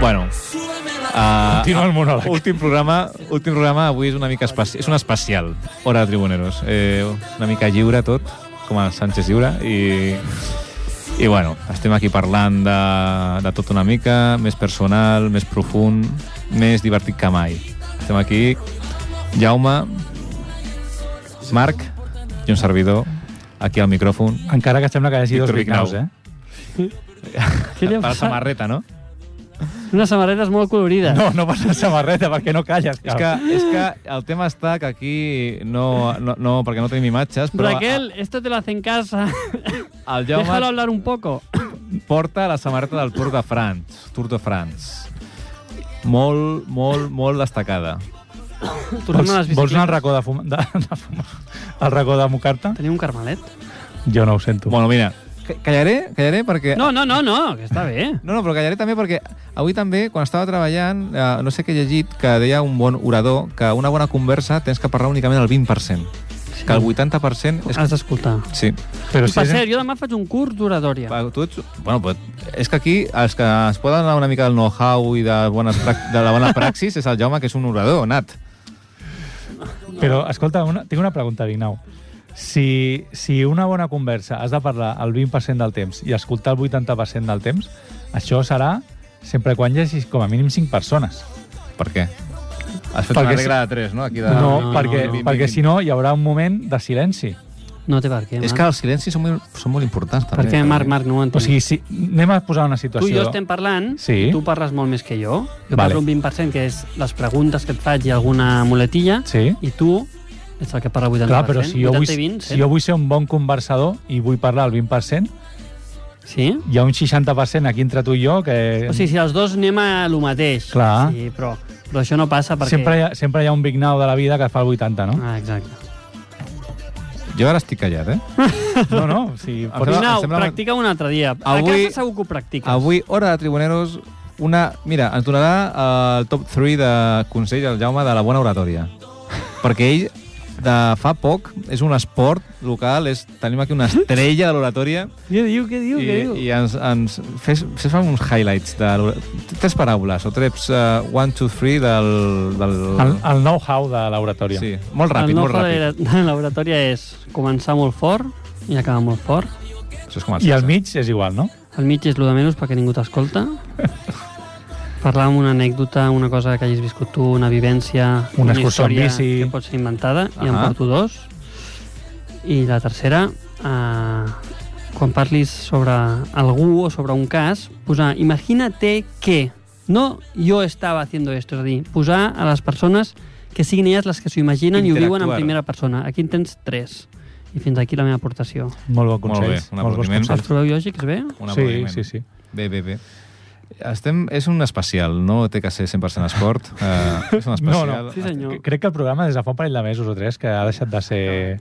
Bueno, Súbeme la uh, Continua el monòleg. últim programa, últim programa avui és una mica especial, és un especial, Hora de Tribuneros. Eh, una mica lliure tot, com el Sánchez lliure, i, i bueno, estem aquí parlant de, de tot una mica, més personal, més profund, més divertit que mai. Estem aquí, Jaume, Marc i un servidor, aquí al micròfon, Encara que sembla que hi hagi Víctor dos Vignaus, Vignau. eh? Què per li ha la passat? samarreta, no? Unes samarretes molt colorides. No, no passa samarreta, perquè no calles. És que, és que el tema està que aquí no, no, no perquè no tenim imatges, però Raquel, esto te lo hace en casa. el Jaume... Déjalo hablar un poco. porta la samarreta del Tour de France. Tour de France. Molt, molt, molt destacada. Tornem a les Vols, vols anar al bicicletes. racó de fumar... De, de fumar al racó de mocar-te? Teniu un carmelet? Jo no ho sento. Bueno, mira, ca- callaré, callaré perquè... No, no, no, no, que està bé. No, no, però callaré també perquè avui també, quan estava treballant, eh, no sé què he llegit, que deia un bon orador que una bona conversa tens que parlar únicament el 20%. Sí. Que el 80% és... Has d'escoltar. Sí. Però Per és- cert, jo demà faig un curs d'oratòria. Va, Tu ets... Bueno, però és que aquí els que es poden donar una mica del know-how i de, bones prac- de la bona praxis és el Jaume, que és un orador, nat. Però, escolta, una, tinc una pregunta, Vignau. Si, si una bona conversa has de parlar el 20% del temps i escoltar el 80% del temps, això serà sempre quan hi hagi com a mínim 5 persones. Per què? Has fet Perquè una si- regla de 3, no? Aquí de... No, no, no, perquè, no, no, no. perquè si no hi haurà un moment de silenci. No té per què, És Marc. que els silencis són molt, són molt importants, també. Per què, Marc, Marc, no ho O entenc. sigui, si, anem a posar una tu situació... i jo estem parlant, Sí. i tu parles molt més que jo. Jo Vale. parlo un 20%, que és les preguntes que et faig i alguna muletilla, Sí. i tu ets el que parla 80%. Clar, però si jo, vull, 80 i eh? 20, si jo vull ser un bon conversador i vull parlar el 20%, Sí? hi ha un 60% aquí entre tu i jo que... O sigui, si els dos anem a lo mateix. Clar. Sí, però, però això no passa perquè... sempre, hi ha, sempre hi ha un big now de la vida que fa el 80, no? Ah, exacte. Jo ara estic callat, eh? No, no, o sigui, Em pots, sembla- Vinau, sembla- practica un altre dia. Avui- A casa segur que ho practiques. Avui, hora de tribuneros, una... Mira, ens donarà eh, el top 3 de consells al Jaume de la bona oratòria. Perquè ell, de fa poc, és un esport local, és, tenim aquí una estrella de l'oratòria Què diu, què diu, i, què diu? i ens, ens fes, fes uns highlights de l'ora- tres paraules o tres uh, one, two, three del... del... El, el know-how de l'oratòria. Sí, molt ràpid, el molt nostre ràpid. de la- de l'oratòria és començar molt fort i acabar molt fort. Això és com el I al sexe. mig és igual, no? El mig és el de menys perquè ningú t'escolta. Parlar amb una anècdota, una cosa que hagis viscut tu, una vivència, Una excursió en història bici. que pot ser inventada, i en Ahà. porto dos. I la tercera, eh, quan parlis sobre algú o sobre un cas, posar imagínate que no jo estava haciendo esto, és a dir, posar a les persones que siguin elles les que s'ho imaginen i ho viuen en Interactuar. primera persona. Aquí en tens tres. I fins aquí la meva aportació. Molt bon Molt consell. bé, un Molt bons aplaudiment. consells. Els trobeu lògics bé? Un Sí, aplaudiment. sí, sí. Bé, bé, bé. Estem, és un especial, no té que ser 100% esport. Uh, és un especial. No, no. Sí, senyor. Cre- Crec que el programa des de fa un parell de mesos o tres que ha deixat de ser...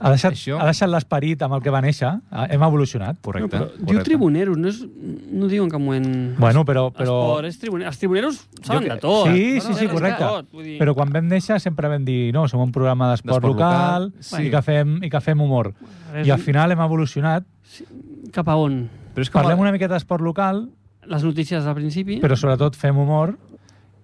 Ha deixat, Això- ha deixat l'esperit amb el que va néixer. Ah, Hem evolucionat. Correcte. Però correcte. diu tribuneros, no, és, no diu en cap moment... Bueno, però... però... Esport, és tribune... Els tribuneros saben Jo que- de tot. Sí, sí, Bueno, sí, saben de correcte. tot, vull dir- Però quan vam néixer sempre vam dir no, som un programa d'esport D'esport local, local, sí. sí. i, que fem, i que fem humor. Ara és I al un- final hem evolucionat. Cap a on? Però és com... Parlem una miqueta d'esport local, Les notícies al principi? però sobretot fem humor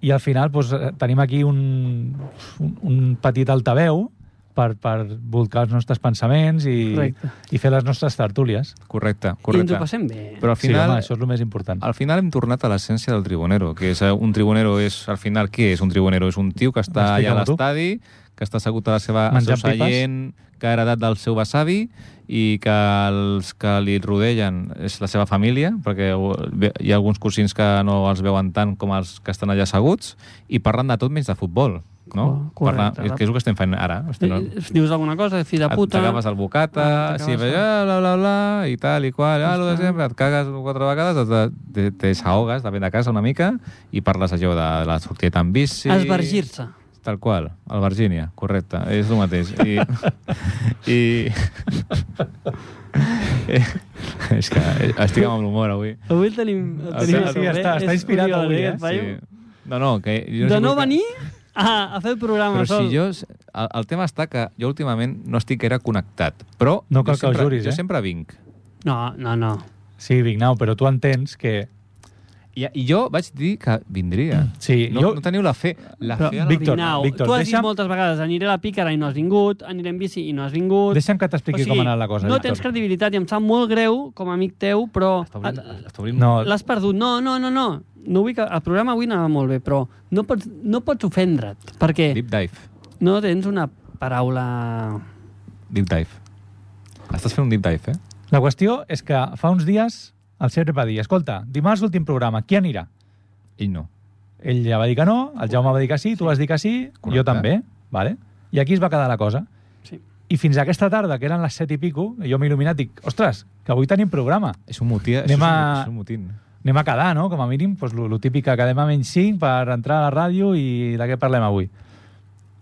i al final doncs, eh, tenim aquí un, un, un petit altaveu per, per volcar els nostres pensaments i, Correcte. i fer les nostres tertúlies. Correcte, I ens ho correcte. passem bé. Però al sí, final, home, això és el més important. Al final hem tornat a l'essència del tribunero, que és eh, un tribunero és, al final, què és un tribunero? És un tio que està allà a Explica-m'ho tu. l'estadi, que està assegut a la seva al seu Menjant pipes. seient, que ha heredat del seu besavi i que els que li rodegen és la seva família, perquè ho- ve- hi ha alguns cosins que no els veuen tant com els que estan allà asseguts, i parlen de tot menys de futbol. No? Co- correcte. Parlar- és que és el que estem fent ara. Estem, Eh, Dius alguna cosa, fill de puta... T'acabes el bocata, Ah, sí, t'acabes el- bla, bla, bla, bla, i tal i qual, ah, lo de Està. sempre, et cagues quatre vegades, et, te, te desahogues, de vent de casa una mica, i parles allò de la sortida en bici... Esvergir-se. Tal qual, el Virgínia, correcte, és el mateix. I... i... Eh, és que estic amb l'humor avui. Avui el tenim... El Sí, tenim sí, sobre, està- eh? està És inspirat Oriol, avui, eh, eh? et veiem. No, no, que... Jo De sé no per què- venir a, a fer el programa Però sol. si jo... El, el tema està que jo últimament no estic gaire connectat, però... No cal jo que ho sempre, juris, eh? Jo sempre vinc. No, no, no. Sí, Vignau, però tu entens que... I, I jo vaig dir que vindria. Mm. Sí, No, jo- no teniu la fe. La Però, fe a la... Víctor, Vignau, Víctor, tu has deixa'm- dit moltes vegades, aniré a la pícara i no has vingut, aniré en bici i no has vingut... Deixa'm que t'expliqui com ha anat la cosa, No Víctor. tens credibilitat i em sap molt greu com a amic teu, però Està obrint, a- està obrint No, l'has perdut. No, no, no, no. no vull que... El programa avui anava molt bé, però no pots, no pots ofendre't, perquè Deep dive. no tens una paraula... Deep dive. Estàs fent un deep dive, eh? La qüestió és que fa uns dies el Sergi va dir, escolta, dimarts l'últim programa, qui anirà? Ell no. Ell ja va dir que no, el Jaume va dir que sí, tu vas dir que sí, Correcte. jo també, vale? i aquí es va quedar la cosa. Sí. I fins aquesta tarda, que eren les set i pico, jo m'he il·luminat i dic, ostres, que avui tenim programa. És un mutí, Anem a- és un mutín. Anem a quedar, no?, com a mínim, doncs, lo, lo típic que quedem a menys 5 per entrar a la ràdio i de què parlem avui.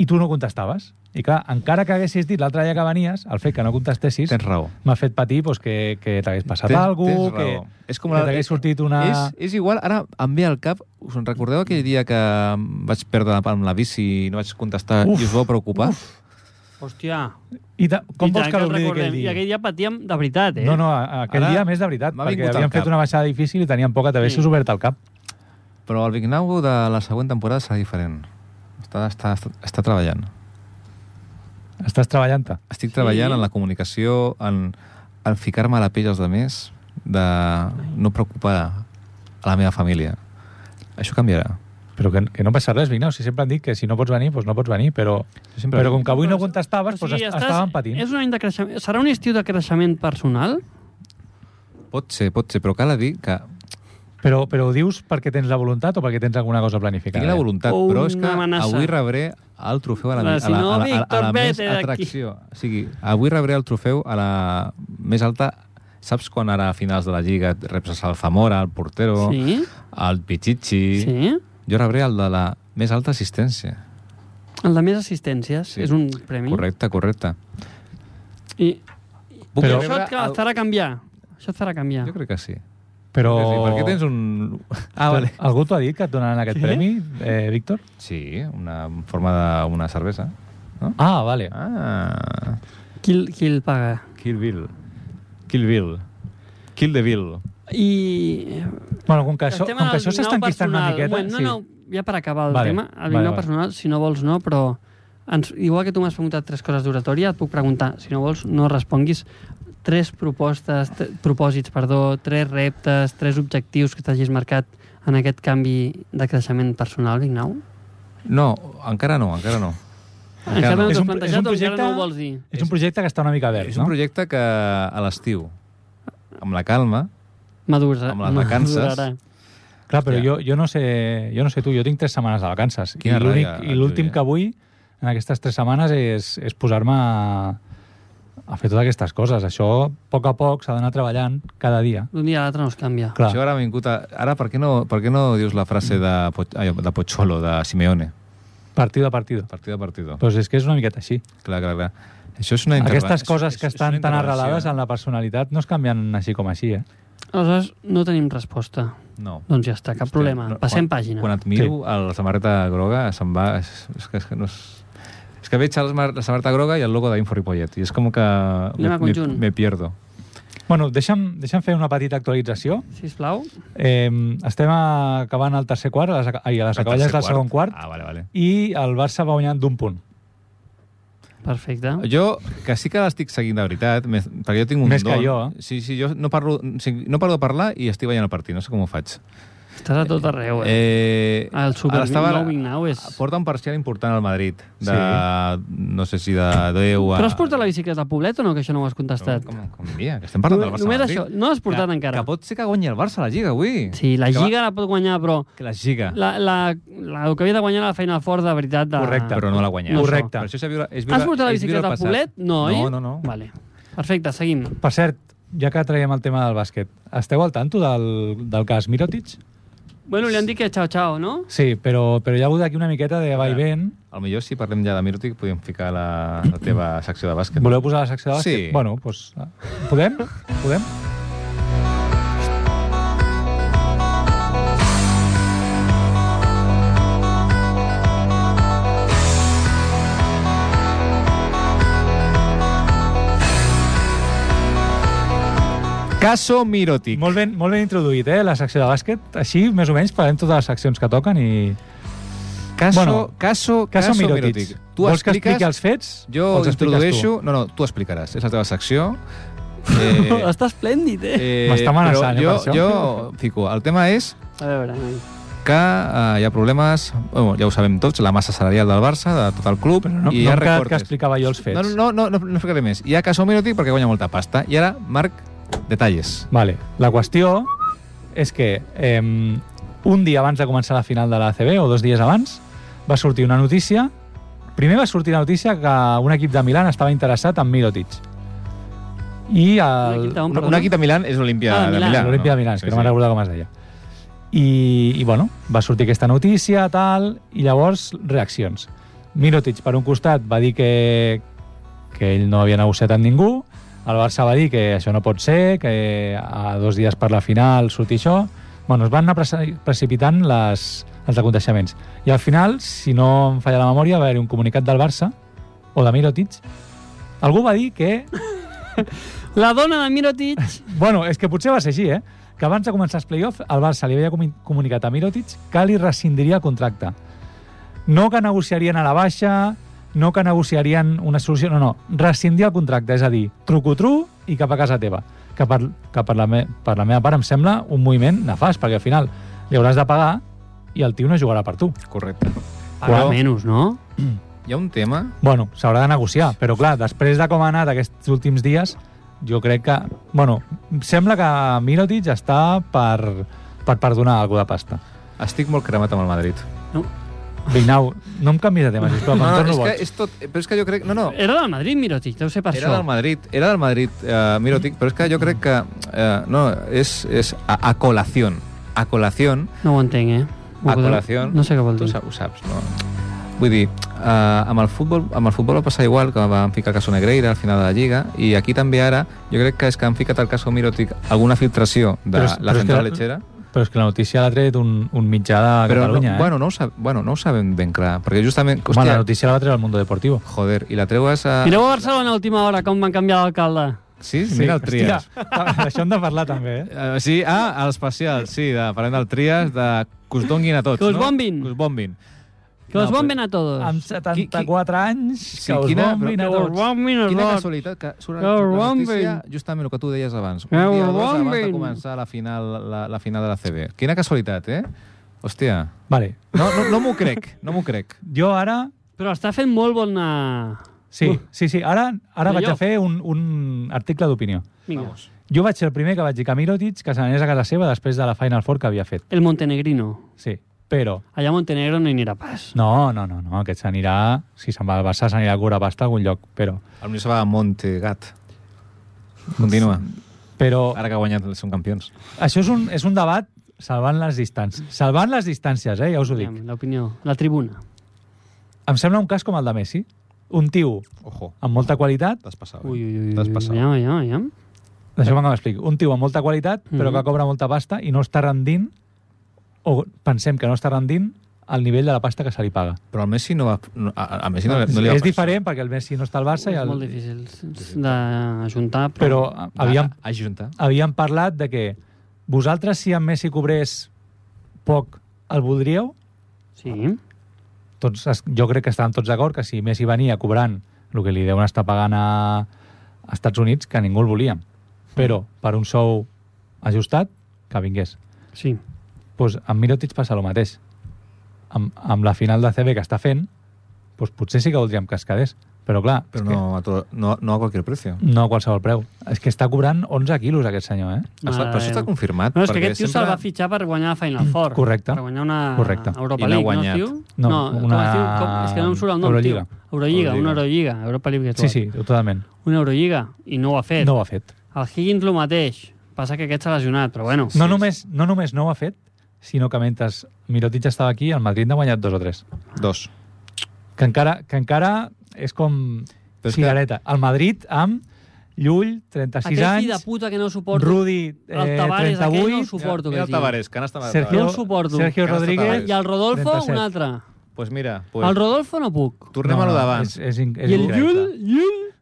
I tu no contestaves. I clar, encara que haguessis dit l'altre dia que venies, el fet que no contestessis... Tens raó. M'ha fet patir doncs, que, que t'hagués passat Tens- alguna tens cosa, raó. que, És com que la- t'hagués sortit una... És, és igual, ara em ve al cap, us en recordeu aquell dia que em vaig perdre la palma amb la bici i no vaig contestar Uf, i us vau preocupar? Hòstia, I ta... com I vols tant que el l'oblidi recordem. aquell I dia? aquell dia patíem de veritat, eh? No, no, a- aquell Ara dia més de veritat, m'ha perquè vingut al havíem cap. fet una baixada difícil i teníem por que t'haguessis Sí. obert el cap. Però el Vignau de la següent temporada serà diferent. Està, està, està, està treballant. Estàs treballant-te. Estic treballant en la comunicació, en, en ficar-me a la pell dels altres, de no preocupar a la meva família. Això canviarà. Però que, que no passa res, Vignau, si sempre han dit que si no pots venir, doncs no pots venir, però, sempre- però com que avui no contestaves, O doncs sigui, est- estàs- estàvem patint. És un any de creixement. Serà un estiu de creixement personal? Pot ser, pot ser, però cal dir que Però, però ho dius perquè tens la voluntat o perquè tens alguna cosa tinc planificada? la voluntat, O però és una que amenaça. avui rebré el trofeu a la, Clar, a si la, no, a la, a la, a Víctor, la més vete d'aquí. atracció. O sigui, avui rebré el trofeu a la més alta... Saps quan ara a finals de la Lliga et reps el Salfamora, el Oh, portero, Sí, el Pichichi... sí. Jo rebré el de la més alta assistència. El de més assistències Sí. és un premi. Correcte, correcte. I, Puc Però- però, rebre això et el- farà canviar. Això et farà canviar. Jo crec que sí. Però... Sí, per què tens un... Ah, vale. Algú t'ho ha dit que et donaran aquest Què? premi, eh, Víctor? Sí, una en forma d'una cervesa. No? Ah, vale. Ah, Qui, el- qui el paga? Kill Bill. Kill Bill. Kill the Bill. I... Bueno, com que això, El tema com que del això s'està Vignau enquistant una personal. miqueta... Un moment, no, no, ja per acabar el Vale, tema, el vale, Vignau vale. personal, si no vols no, però ens, igual que tu m'has preguntat tres coses d'oratòria, et puc preguntar, si no vols no responguis, tres propostes, t- propòsits, perdó, tres reptes, tres objectius que t'hagis marcat en aquest canvi de creixement personal, Vignau? No, encara no, encara no. Encara És un- no t'ho has és un plantejat o encara projecte- no ho vols dir? És un projecte que està una mica verd, És no? un projecte que a l'estiu amb la calma, Madura, Amb les vacances. madurarà. Clar, però Hòstia. jo, jo, no sé, jo no sé tu, jo tinc tres setmanes de vacances. Quina I l'únic- ràbia, I l'últim Júlia. que vull en aquestes tres setmanes és, és posar-me a, a fer totes aquestes coses. Això, a poc a poc, s'ha d'anar treballant cada dia. D'un dia a l'altre no es canvia. Clar. Clar, Això ara m'ha vingut a... Ara, per què, no, per què no dius la frase de, Poch... ai, de Pocholo, de Simeone? partido a partido. Partido a partido. Però és que és una miqueta així. Clar, clar, clar. Això és una interve- Aquestes és- coses és- que és una estan tan intervenció. arrelades en la personalitat no es canvien així com així, eh? Aleshores, no tenim resposta. No. Doncs ja està, cap problema. No, Passem quan, pàgina. Quan et miro, sí. la samarreta groga se'n va... És, és, que, és que no és... És que veig la samar- la samarreta groga i el logo d'Infor i Pollet, i és com que... a me, conjunt. me pierdo. Bueno, deixa'm, deixa'm fer una petita actualització. Sisplau. Eh, estem acabant el tercer quart, a les, ai, a les El acaballes tercer del segon quart, Ah, vale, vale. i el Barça va guanyant d'un punt. Perfecte. Jo, que sí que l'estic seguint de veritat, més, perquè jo tinc un Més que don. jo, eh? Sí, sí, jo no parlo, o sigui, no paro de parlar i estic veient el partit, no sé com ho faig. Estàs a tot arreu, eh? Eh, El Super ara estava- Nou Vignau és- Porta un parcial important al Madrid, de, Sí. no sé si de 10 a... Però has portat la bicicleta al poblet o no, que això no ho has contestat? Com, com diria, que estem parlant del Barça Només Madrid. això, no has portat que, encara. Que pot ser que guanyi el Barça la Lliga avui. Sí, la que va- Lliga la pot guanyar, però Que la Lliga. la, la, la, el que havia de guanyar la Final Four, de veritat... De... Correcte. Però no la guanyarà. No, Correcte. Per això és viure, és viure, Has portat la és viure el bicicleta al passat. poblet? No, oi? No, no, no. Vale. Perfecte, seguim. Per cert, ja que traiem el tema del bàsquet, esteu al tanto del, del cas Mirotic? Bueno, li han dit que xau, xau, no? Sí, però, però hi ha hagut aquí una miqueta de va i ven. A lo millor si parlem ja de Mirotic podem ficar la, la teva secció de bàsquet. Voleu posar la secció de bàsquet? Sí. Bueno, doncs... ah, Podem? Podem? Caso Mirotic. Molt ben, molt ben introduït, eh, la secció de bàsquet. Així, més o menys, farem totes les seccions que toquen i... Caso, Bueno, caso, Què caso són Mirotic? Mirotic. Tu Vols que expliques... expliqui els fets? o Jo els expliques introdueixo... No, no, tu explicaràs. És la teva secció. Eh, Està esplèndid, eh? eh, M'està amenaçant, eh, però per jo, això. jo fico, el tema és A veure, noi. que eh, hi ha problemes, bueno, ja ho sabem tots, la massa salarial del Barça, de tot el club, Tu. No, i no hi ha em quedat que recortes. explicava jo els fets. No, no, no, no, no explicaré més. Hi ha Caso Mirotic perquè guanya molta pasta. I ara, Marc, detalles. Vale. La qüestió és que eh, un dia abans de començar la final de la CB, o dos dies abans, va sortir una notícia... Primer va sortir la notícia que un equip de Milan estava interessat en Mirotic. I Un el, equip d'on, Un, perdó? un equip de Milan és l'Olimpia Ah, de de Milà. Milà. l'Olimpia de Milà, que no me'n recordo com es deia. I, I, bueno, va sortir aquesta notícia, tal, i llavors reaccions. Mirotic, per un costat, va dir que, que ell no havia negociat amb ningú, el Barça va dir que això no pot ser, que a dos dies per la final sortir això... Bueno, es van anar preci- precipitant les, els aconteixements. I al final, si no em falla la memòria, va haver-hi un comunicat del Barça, o de Mirotic, algú va dir que La dona de Mirotic... Bueno, és que potser va ser així, eh? Que abans de començar els play-off, el Barça li havia comi- comunicat a Mirotic que li rescindiria el contracte. No que negociarien a la baixa, no que negociarien una solució... No, no, rescindir el contracte, és a dir, truco-tru i cap a casa teva. Que per, que per, la, me, per la meva part em sembla un moviment nefast, perquè al final li hauràs de pagar i el tio no jugarà per tu. Correcte. Paga Però- menys, no? Hi ha un tema... Bueno, s'haurà de negociar, però clar, després de com ha anat aquests últims dies, jo crec que... Bueno, em sembla que Mirotic està per, per perdonar algú de pasta. Estic molt cremat amb el Madrid. no. Vignau, no em canvis de tema, sisplau, no, em és torno que boig. és tot... Però és que jo crec... No, no, Era del Madrid, Mirotic, deu ser Eh, per era això. del Madrid, era del Madrid eh, Mirotic, però és que jo crec que... Eh, no, és, és a, a colación. A colación No ho entenc, eh? Ho a podeu- col·lació... No sé què vol tu dir. sa- Ho saps, no? Vull dir, eh, amb, el futbol, amb el futbol va passar igual, que van ficar el Caso Negreira al final de la Lliga, i aquí també ara, jo crec que és que han ficat el Caso Mirotic alguna filtració de Però és- la però és central que- lechera. Però és que la notícia l'ha tret un, un mitjà de Però no, Catalunya, eh? bueno, no ho sab, bueno, no ho sabem ben clar, perquè justament... Home, la Hòstia, notícia la va treure al Mundo Deportivo. joder, i la treues a... Mireu a Barcelona a última hora com van canviar l'alcalde. Sí, mira el Trias. Hòstia, d'això hem de parlar també, eh? Uh, sí, ah, els especials, sí, de, parlem del Trias, de que us donguin a tots, Que us no? bombin. Que us bombin. Que us No, bomben a todos. Amb 74 anys, Sí, que us quina- bombin Em però- a Que us tots. bombin a Quina tots. casualitat que surt Que la us notícia, bombin. justament el que tu deies abans. Que Un dia o us dos abans de bombin. començar la final, la, la final de la CB. Quina casualitat, eh? Hòstia, Vale, no, no, no m'ho crec, no m'ho crec. jo ara... Però està fent molt bona... Sí, sí, sí. Ara, ara No, vaig jo. a fer un, un article d'opinió. Vinga. Vamos. Jo vaig ser el primer que vaig dir que Mirotic que se n'anés a casa seva després de la Final Four que havia fet. El Montenegrino. Sí, però... Allà a Montenegro no hi anirà pas. No, no, no, no aquest s'anirà... Si se'n va al Barça, s'anirà a Curabasta a algun lloc, però... Potser se va a Montegat. Continua. Però Ara que ha guanyat, són campions. això és un, és un debat salvant les distàncies. Salvant les distàncies, eh? Ja us ho dic. Aviam, L'opinió. La tribuna. Em sembla un cas com el de Messi. Un tio Ojo, amb molta qualitat, t'has passat. eh? Ui, ui, ui. T'has ui, passat. Aviam, aviam, aviam. deixeu-me que m'expliqui, un tio amb molta qualitat, però Mhm. que cobra molta pasta i no està rendint, o pensem que no està rendint, al nivell de la pasta que se li paga. Però al Messi no va... no- A, a Messi no, no li va és passar. diferent perquè el Messi no està al Barça i És el... molt difícil s- d'ajuntar, però però... havíem, A, a junta. havíem parlat de que vosaltres si en Messi cobrés poc el voldríeu Sí. tots, es- jo crec que estàvem tots d'acord que si Messi venia cobrant el que li deuen estar pagant a, a Estats Units que ningú el volíem però per un sou ajustat que vingués Sí. doncs amb Mirotic passa el mateix. Amb, amb la final de CB que està fent, doncs potser sí que voldríem que es quedés. Però clar, Però és que no a, to, no, no a qualsevol precio. no a qualsevol preu. És que està cobrant 11 quilos aquest senyor, eh? Està, Mare però això de està Déu. confirmat. No, és que perquè aquest tio se'l sempre- va fitxar per guanyar la Final Four. Correcte. Per guanyar una Correcte. Europa I l'ha League, guanyat. no, es diu? No, com una- es diu? Com, és que no em surt el nom, Eurolliga. tio. Eurolliga, una Eurolliga. Europa League Sí, sí, totalment. Una Eurolliga, i no ho ha fet. No ho ha fet. El Higgins el mateix. Passa que aquest s'ha lesionat, però bueno. No només, no només no ho ha fet, sinó que mentre Mirotic estava aquí, el Madrid n'ha guanyat dos o tres. Dos. Que encara, que encara és com Però és que- cirereta. El Madrid amb Llull, 36 Aquell fill de anys, puta que no suporto. Rudi, eh, El Tavares, aquell no el 38, suporto. Mira Aquest el tio. Tavares, que han estat... Sergio, No el suporto. Sergio Encara està Rodríguez... Tavares. I el Rodolfo, 37. un altre. pues Doncs mira, pues, El Rodolfo no puc. tornem a lo d'abans. És, és, in- és, I el increïble. Llull, Llull...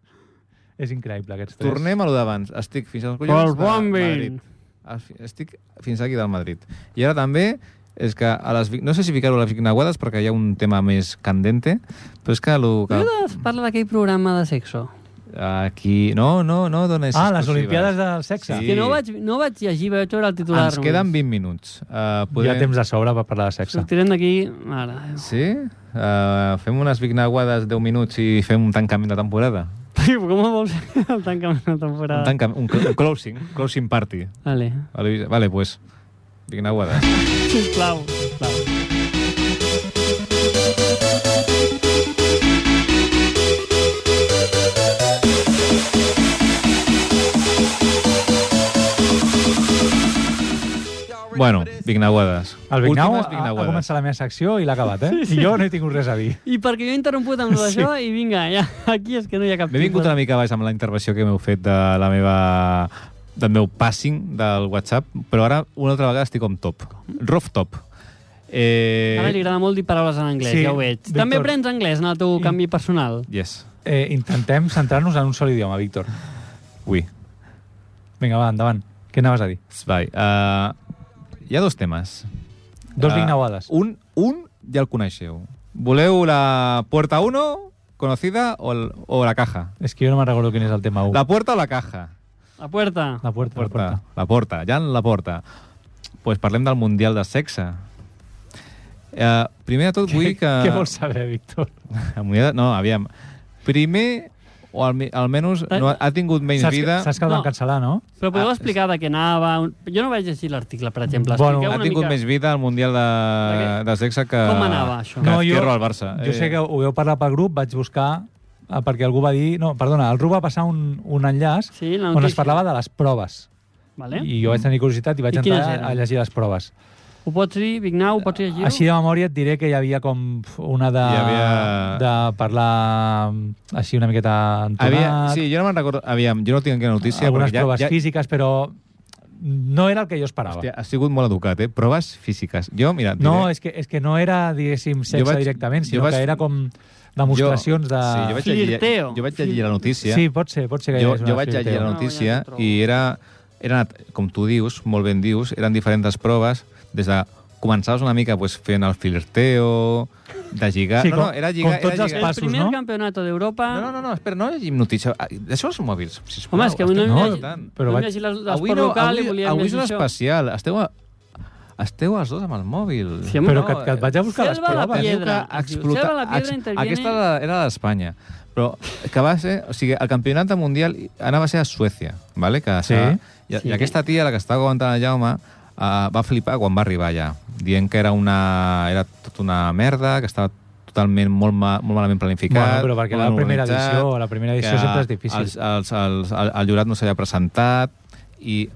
És increïble, aquests tres. Tornem a lo d'abans. Estic fins als Col collons de bombing. Madrid. Al fi- Estic fins aquí del Madrid. I ara també és que a les, vic- no sé si ficar-ho a les Vignaguades perquè hi ha un tema més candente, però és que, lo que Jo parla d'aquell programa de sexo. aquí... No, no, no dones... Ah, les exclusives. Olimpiades del sexe. Sí. Que no vaig, no vaig llegir, vaig veure el titular. Ens queden 20 minuts. Uh, Hi ha temps de sobre per parlar de sexe. Sortirem d'aquí... Mare, de Déu. Sí? Uh, fem unes vignaguades 10 minuts i fem un tancament de temporada. Tio, com em vols fer el tancament de temporada? Ah. Un, tancament, un, cl- un closing, closing party. Vale. Vale, vale pues. Vignaguades. Sisplau, sisplau. Bueno, vignaguades. El Vignau Últimes ha, ha vignaguades. començat la meva secció i l'ha acabat, eh? I jo no he tingut res a dir. I perquè jo he interromput amb això i vinga, ja, aquí és que no hi ha cap M'he vingut tipus. una mica baix amb la intervenció que m'heu fet de la meva del meu passing del WhatsApp, però ara una altra vegada estic com top. Rough top. Ara li Eh, agrada molt dir paraules en anglès, Sí, ja ho veig. Víctor. També aprens anglès en el teu I- canvi personal. yes. Eh, intentem centrar-nos en un sol idioma, Víctor. Ui. Vinga, va, endavant. Què anaves a dir? Vai. Uh, hi ha dos temes. Dos Ah, vignauades. Un, un ja el coneixeu. Voleu la puerta 1 conocida o, el, o la caja? És que jo no me'n recordo quin és el tema 1. La puerta o la caja? La puerta. la puerta, la puerta. La porta, ja en la porta. Doncs pues parlem del Mundial de Sexe. Eh, primer de tot vull que... Què vols saber, Víctor? El Mundial, no, aviam. Primer, o alme almenys no ha, ha tingut menys Eh, Saps, vida... que- saps que el van No. cancel·lar, no? Però podeu Ah, explicar de què anava? Un- Jo no vaig llegir l'article, per exemple. Bueno, Expliqueu Ha una tingut mica més vida el Mundial de, Perquè- de Sexe que... Com anava, això? Que No, no, jo- jo, al Barça. eh? Jo sé que ho veu parlar pel grup, vaig buscar eh, perquè algú va dir... No, perdona, el Ru va passar un, un enllaç Sí, la on es notícia. parlava de les proves. Vale? I jo vaig tenir curiositat i vaig I entrar quines eren? a llegir les proves. Ho pots dir, Vignau, ho pots llegir? Així de memòria et diré que hi havia com pf, una de, Hi havia- de parlar mm, així una miqueta entonat, Havia, sí, jo no me'n recordo... Aviam, jo no tinc aquella notícia. algunes perquè ja, proves ja, físiques, però no era el que jo esperava. Hòstia, has sigut molt educat, eh? Proves físiques. Jo, mira... et no, diré- és que, és que no era, diguéssim, sexe vaig- directament, sinó jo vaig- que era com demostracions jo, de... Sí, jo vaig llegir, Flirteo. jo vaig llegir la notícia. sí, pot ser, pot ser que hi jo, hagués una jo vaig fluidesa. llegir la No, ja notícia t'ho trobo. i era, eren, com tu dius, molt ben dius, eren diferents proves, des de començaves una mica pues, fent el flirteo, de lligar... Sí, no, no, com- era lligar... com tots era els lligar. El passos, primer no? campeonato d'Europa... No, no, no, no, espera, no llegim notícia. Ah, Deixeu els mòbils, sisplau. Home, és que avui no, estem no, molt llegit- tant. però no vaig- hem llegit l'esport Avui, no, local avui, i volíem avui és llegir un això. especial. Esteu a, esteu els dos amb el mòbil. Sí, home. Però No, que, que et vaig a buscar les Selva la proves. Diu piedra. que Es diu, explota- Selva la piedra ex- interviene. Aquesta era, la- era d'Espanya, però que va ser... O sigui, el campionat mundial anava a ser a Suècia, ¿vale? que Sí. serà- i, Sí. i aquesta tia, la que estava comentant el Jaume, uh, va flipar quan va arribar allà, dient que era una... era tota una merda, que estava totalment molt, ma, molt malament planificat. Bueno, però perquè molt la primera organitzat, edició, la primera edició que sempre és difícil. Els, els, els, el, el jurat no s'havia presentat i,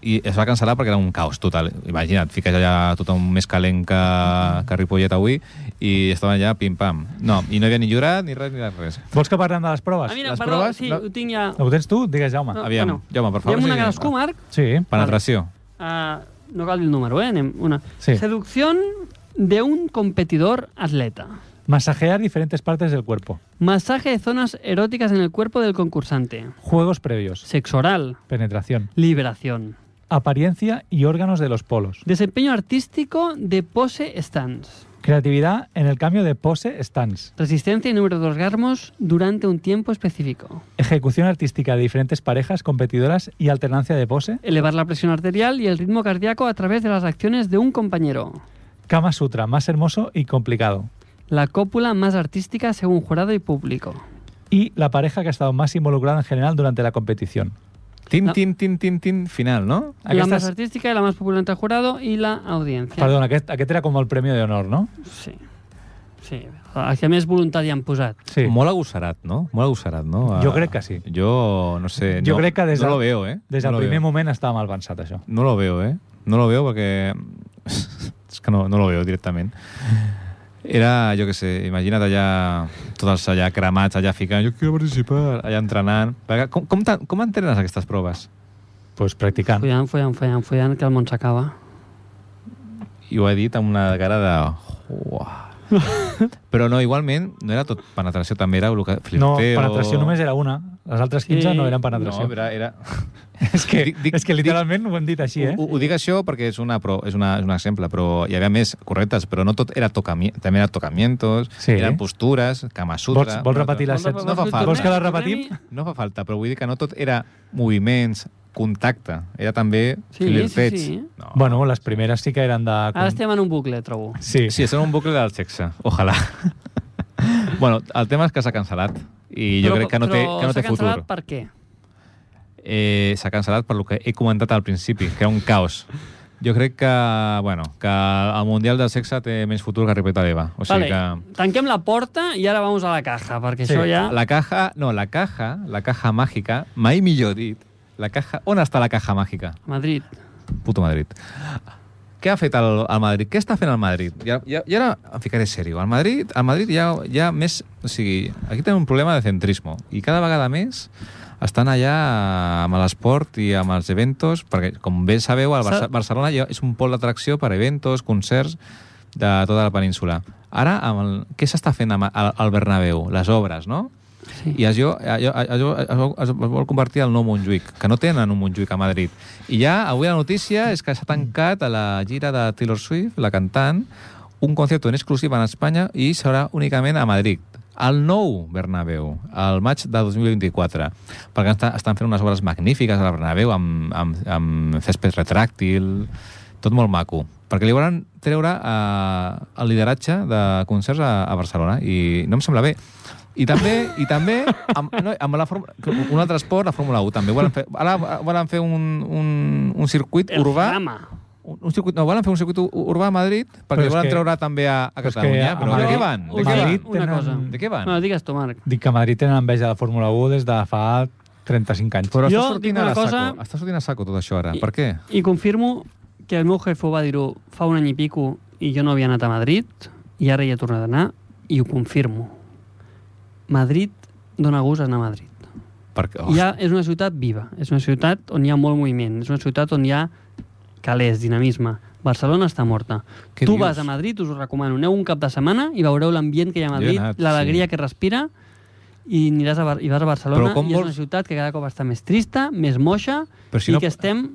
i es va cancel·lar perquè era un caos total. Imagina't, fiques allà tothom més calent que, que Ripollet avui i estaven allà pim-pam. No, i no hi havia ni jurat ni res ni res. Vols que parlem de les proves? Ah, mira, les perdó, proves, sí, no- ho tinc ja... Ho tens tu? Digues, Jaume. No, Aviam, Jaume, per favor, Hi ha una sí, a cadascú, va. Marc. Sí. Penetració. Ah, no cal dir el número, eh? Anem una. Sí. Seducción de un competidor atleta. Masajear diferentes partes del cuerpo. Masaje de zonas eróticas en el cuerpo del concursante. Juegos previos. Sexo oral. Penetración. Liberación. Apariencia y órganos de los polos. Desempeño artístico de pose stands. Creatividad en el cambio de pose stance. Resistencia y número de orgasmos durante un tiempo específico. Ejecución artística de diferentes parejas competidoras y alternancia de pose. Elevar la presión arterial y el ritmo cardíaco a través de las acciones de un compañero. Kama Sutra, más hermoso y complicado. La cópula más artística según jurado y público. Y la pareja que ha estado más involucrada en general durante la competición. Tim, No. tim, tim, tim, tim, final, no? La más Aquestes- artística y la más popular entre el jurado y la audiencia. Perdona, aquest, aquest era com el premi d'honor, no? Sí. Sí. El que més voluntari han posat. Sí. Molt agossarat, no? Molt agossarat, no? Jo crec que sí. Jo, no sé... Jo no, crec que des no del- lo veo, eh? Des no del lo primer veo. moment estava mal pensat, això. No lo veo, ¿eh? No lo veo porque... es que no, no lo veo directamente. Era, jo que sé, imagina't allà, tots els allà cremats, allà ficant, jo quiero participar, allà entrenant. Perquè Com, com, t'en- com entrenes aquestes proves? Pues practicant. Follant, follant, follant, follant, que el món s'acaba. I ho he dit amb una cara de... Uah. Però no, igualment, no era tot penetració, també era el que flirteo... No, penetració només era una. Les altres 15 Sí. no eren No, penetració. era... era... és, ¿eh? que, Dic- dic- és que dic- literalment ho hem dit així, eh? Ho, ho dic això perquè és, una, pro, és, una, és un exemple, però hi havia més correctes, però no tot era tocami, també era tocamientos, sí. Sí. eren postures, Kama Sutra... Vols- vols repetir la no, set- no, fa Vols que falta, la repetim? no fa falta, però vull dir que no tot era moviments, contacte, era també Sí, flirteig. sí, sí. No. Bueno, les primeres sí que eren de... Ara estem en un bucle, trobo. Sí. Sí, és un bucle del sexe, ojalà. bueno, el tema és que s'ha cancel·lat i jo crec que no té, que no té Però s'ha futur. cancel·lat per què? eh, s'ha cancel·lat per lo que he comentat al principi, que era un caos. Jo crec que, bueno, que el Mundial del Sexe té més futur que Ripeta d'Eva. O sigui vale, tanquem la porta i ara vamos a la caja, perquè Sí, això ja... que la caja, no, la caja, la caja màgica, mai millor dit, la caja, on està la caja màgica? A Madrid. Puto Madrid. Què ha fet el, el Madrid? Què està fent el Madrid? Ja, ja, ja ara em ficaré serio. El Madrid, el Madrid ja, ja més... O sigui, aquí tenim un problema de centrisme. I cada vegada més estan allà amb l'esport i amb els eventos, perquè, com bé sabeu, el Barça, S'ha- Barcelona ja és un pol d'atracció per eventos, concerts de tota la península. Ara, amb el, què s'està fent amb, al, al Bernabéu? Les obres, no? Sí. I eh, això, això, això, això es vol convertir al nou Montjuïc, que no tenen un Montjuïc a Madrid. I ja, avui la notícia és que s'ha tancat a la gira de Taylor Swift, la cantant, un concert en exclusiva en Espanya i serà únicament a Madrid. El nou Bernabéu, al maig de 2024, perquè està, estan fent unes obres magnífiques al Bernabéu amb, amb, amb césped retràctil, tot molt maco, perquè li volen treure eh, el lideratge de concerts a, a Barcelona i no em sembla bé. I també, i també amb, no, amb la fórmula, un altre esport, la Fórmula 1, també. Volen fer, ara volen fer un, un, un circuit El urbà... drama. Un, un circuit, no, volen fer un circuit u- urbà a Madrid perquè Però és volen que- treure també a, a però és que Catalunya. a Però, de Madrid- què van? a De què Madrid- van? Una tenen- cosa. de què van? No, digues tu, Marc. Dic que a Madrid tenen enveja de la Fórmula 1 des de fa 35 anys. Però Jo està dic sortint, una a la cosa- saco. està sortint a saco tot això ara. I- Per què? I confirmo que el meu jefe ho va dir-ho fa un any i pico i jo no havia anat a Madrid i ara hi he tornat a anar i ho confirmo. Madrid dona gust anar a Madrid. Perquè, Hi ha, és una ciutat viva, és una ciutat on hi ha molt moviment, és una ciutat on hi ha calés, dinamisme. Barcelona està morta. Què tu dius? vas a Madrid, us ho recomano. Aneu un cap de setmana i veureu l'ambient que hi ha Jo a he Madrid, anat, l'alegria sí. que respira, i, aniràs a, Bar- i vas a Barcelona, Però com i és vols- una ciutat que cada cop està més trista, més moixa, Però si i no- que estem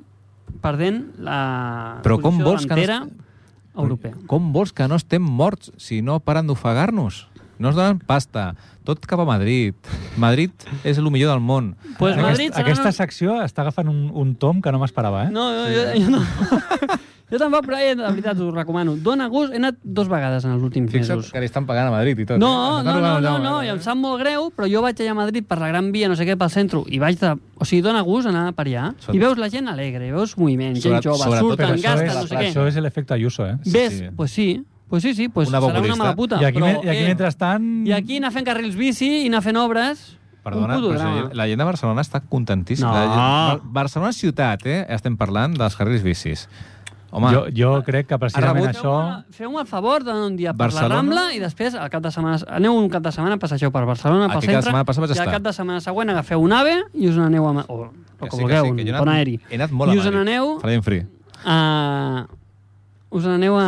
perdent la Però com posició vols que no davantera est- europea. Com vols que no estem morts si no paren d'ofegar-nos? No ens donen pasta. Tot cap a Madrid. Madrid és el millor del món. Pues Aquest- Madrid serà aquesta un- Eh? secció està agafant un, un tom que no m'esperava, eh? No, jo, jo, jo no. Jo tampoc, però eh, de veritat us ho recomano. Dóna gust, he anat dos vegades en els últims Fixa't mesos. que li estan pagant a Madrid i tot. No, eh? no, Estan no, robant no, el no, jaume, i eh? em sap molt greu, però jo vaig allà a Madrid per la Gran Via, no sé què, pel centre, i vaig de... O sigui, dona gust anar per allà, Sobretot- i veus la gent alegre, veus moviment, gent Sobretot- jove, sobretot Però Tant surten, això gasten, és, no sé això què. és l'efecte Ayuso, eh? Sí, Ves, sí. pues sí, pues sí, sí, pues Una serà una populista. mala puta. I aquí, però, men- i aquí eh, mentrestant... I aquí anar fent carrils bici i anar fent obres... Perdona, un puto però drama. si la gent de Barcelona està contentíssima. No. La gent- Bar- Barcelona ciutat, eh? Estem parlant dels carrers bicis. Home, jo, jo crec que precisament rebut- això... Feu-me feu el favor d'anar un dia per Barcelona? la Rambla i després al cap de setmana... Aneu un cap de setmana, passegeu per Barcelona, pel Aquest Ah, cap de centre, setmana passat vaig i al estar. cap de setmana següent agafeu un AVE i us n'aneu a... Ma- O, o que sí, com que vulgueu, sí, que jo he un anat- bon aeri. He anat molt I a us Madrid. n'aneu Farem free. a... Us n'aneu a...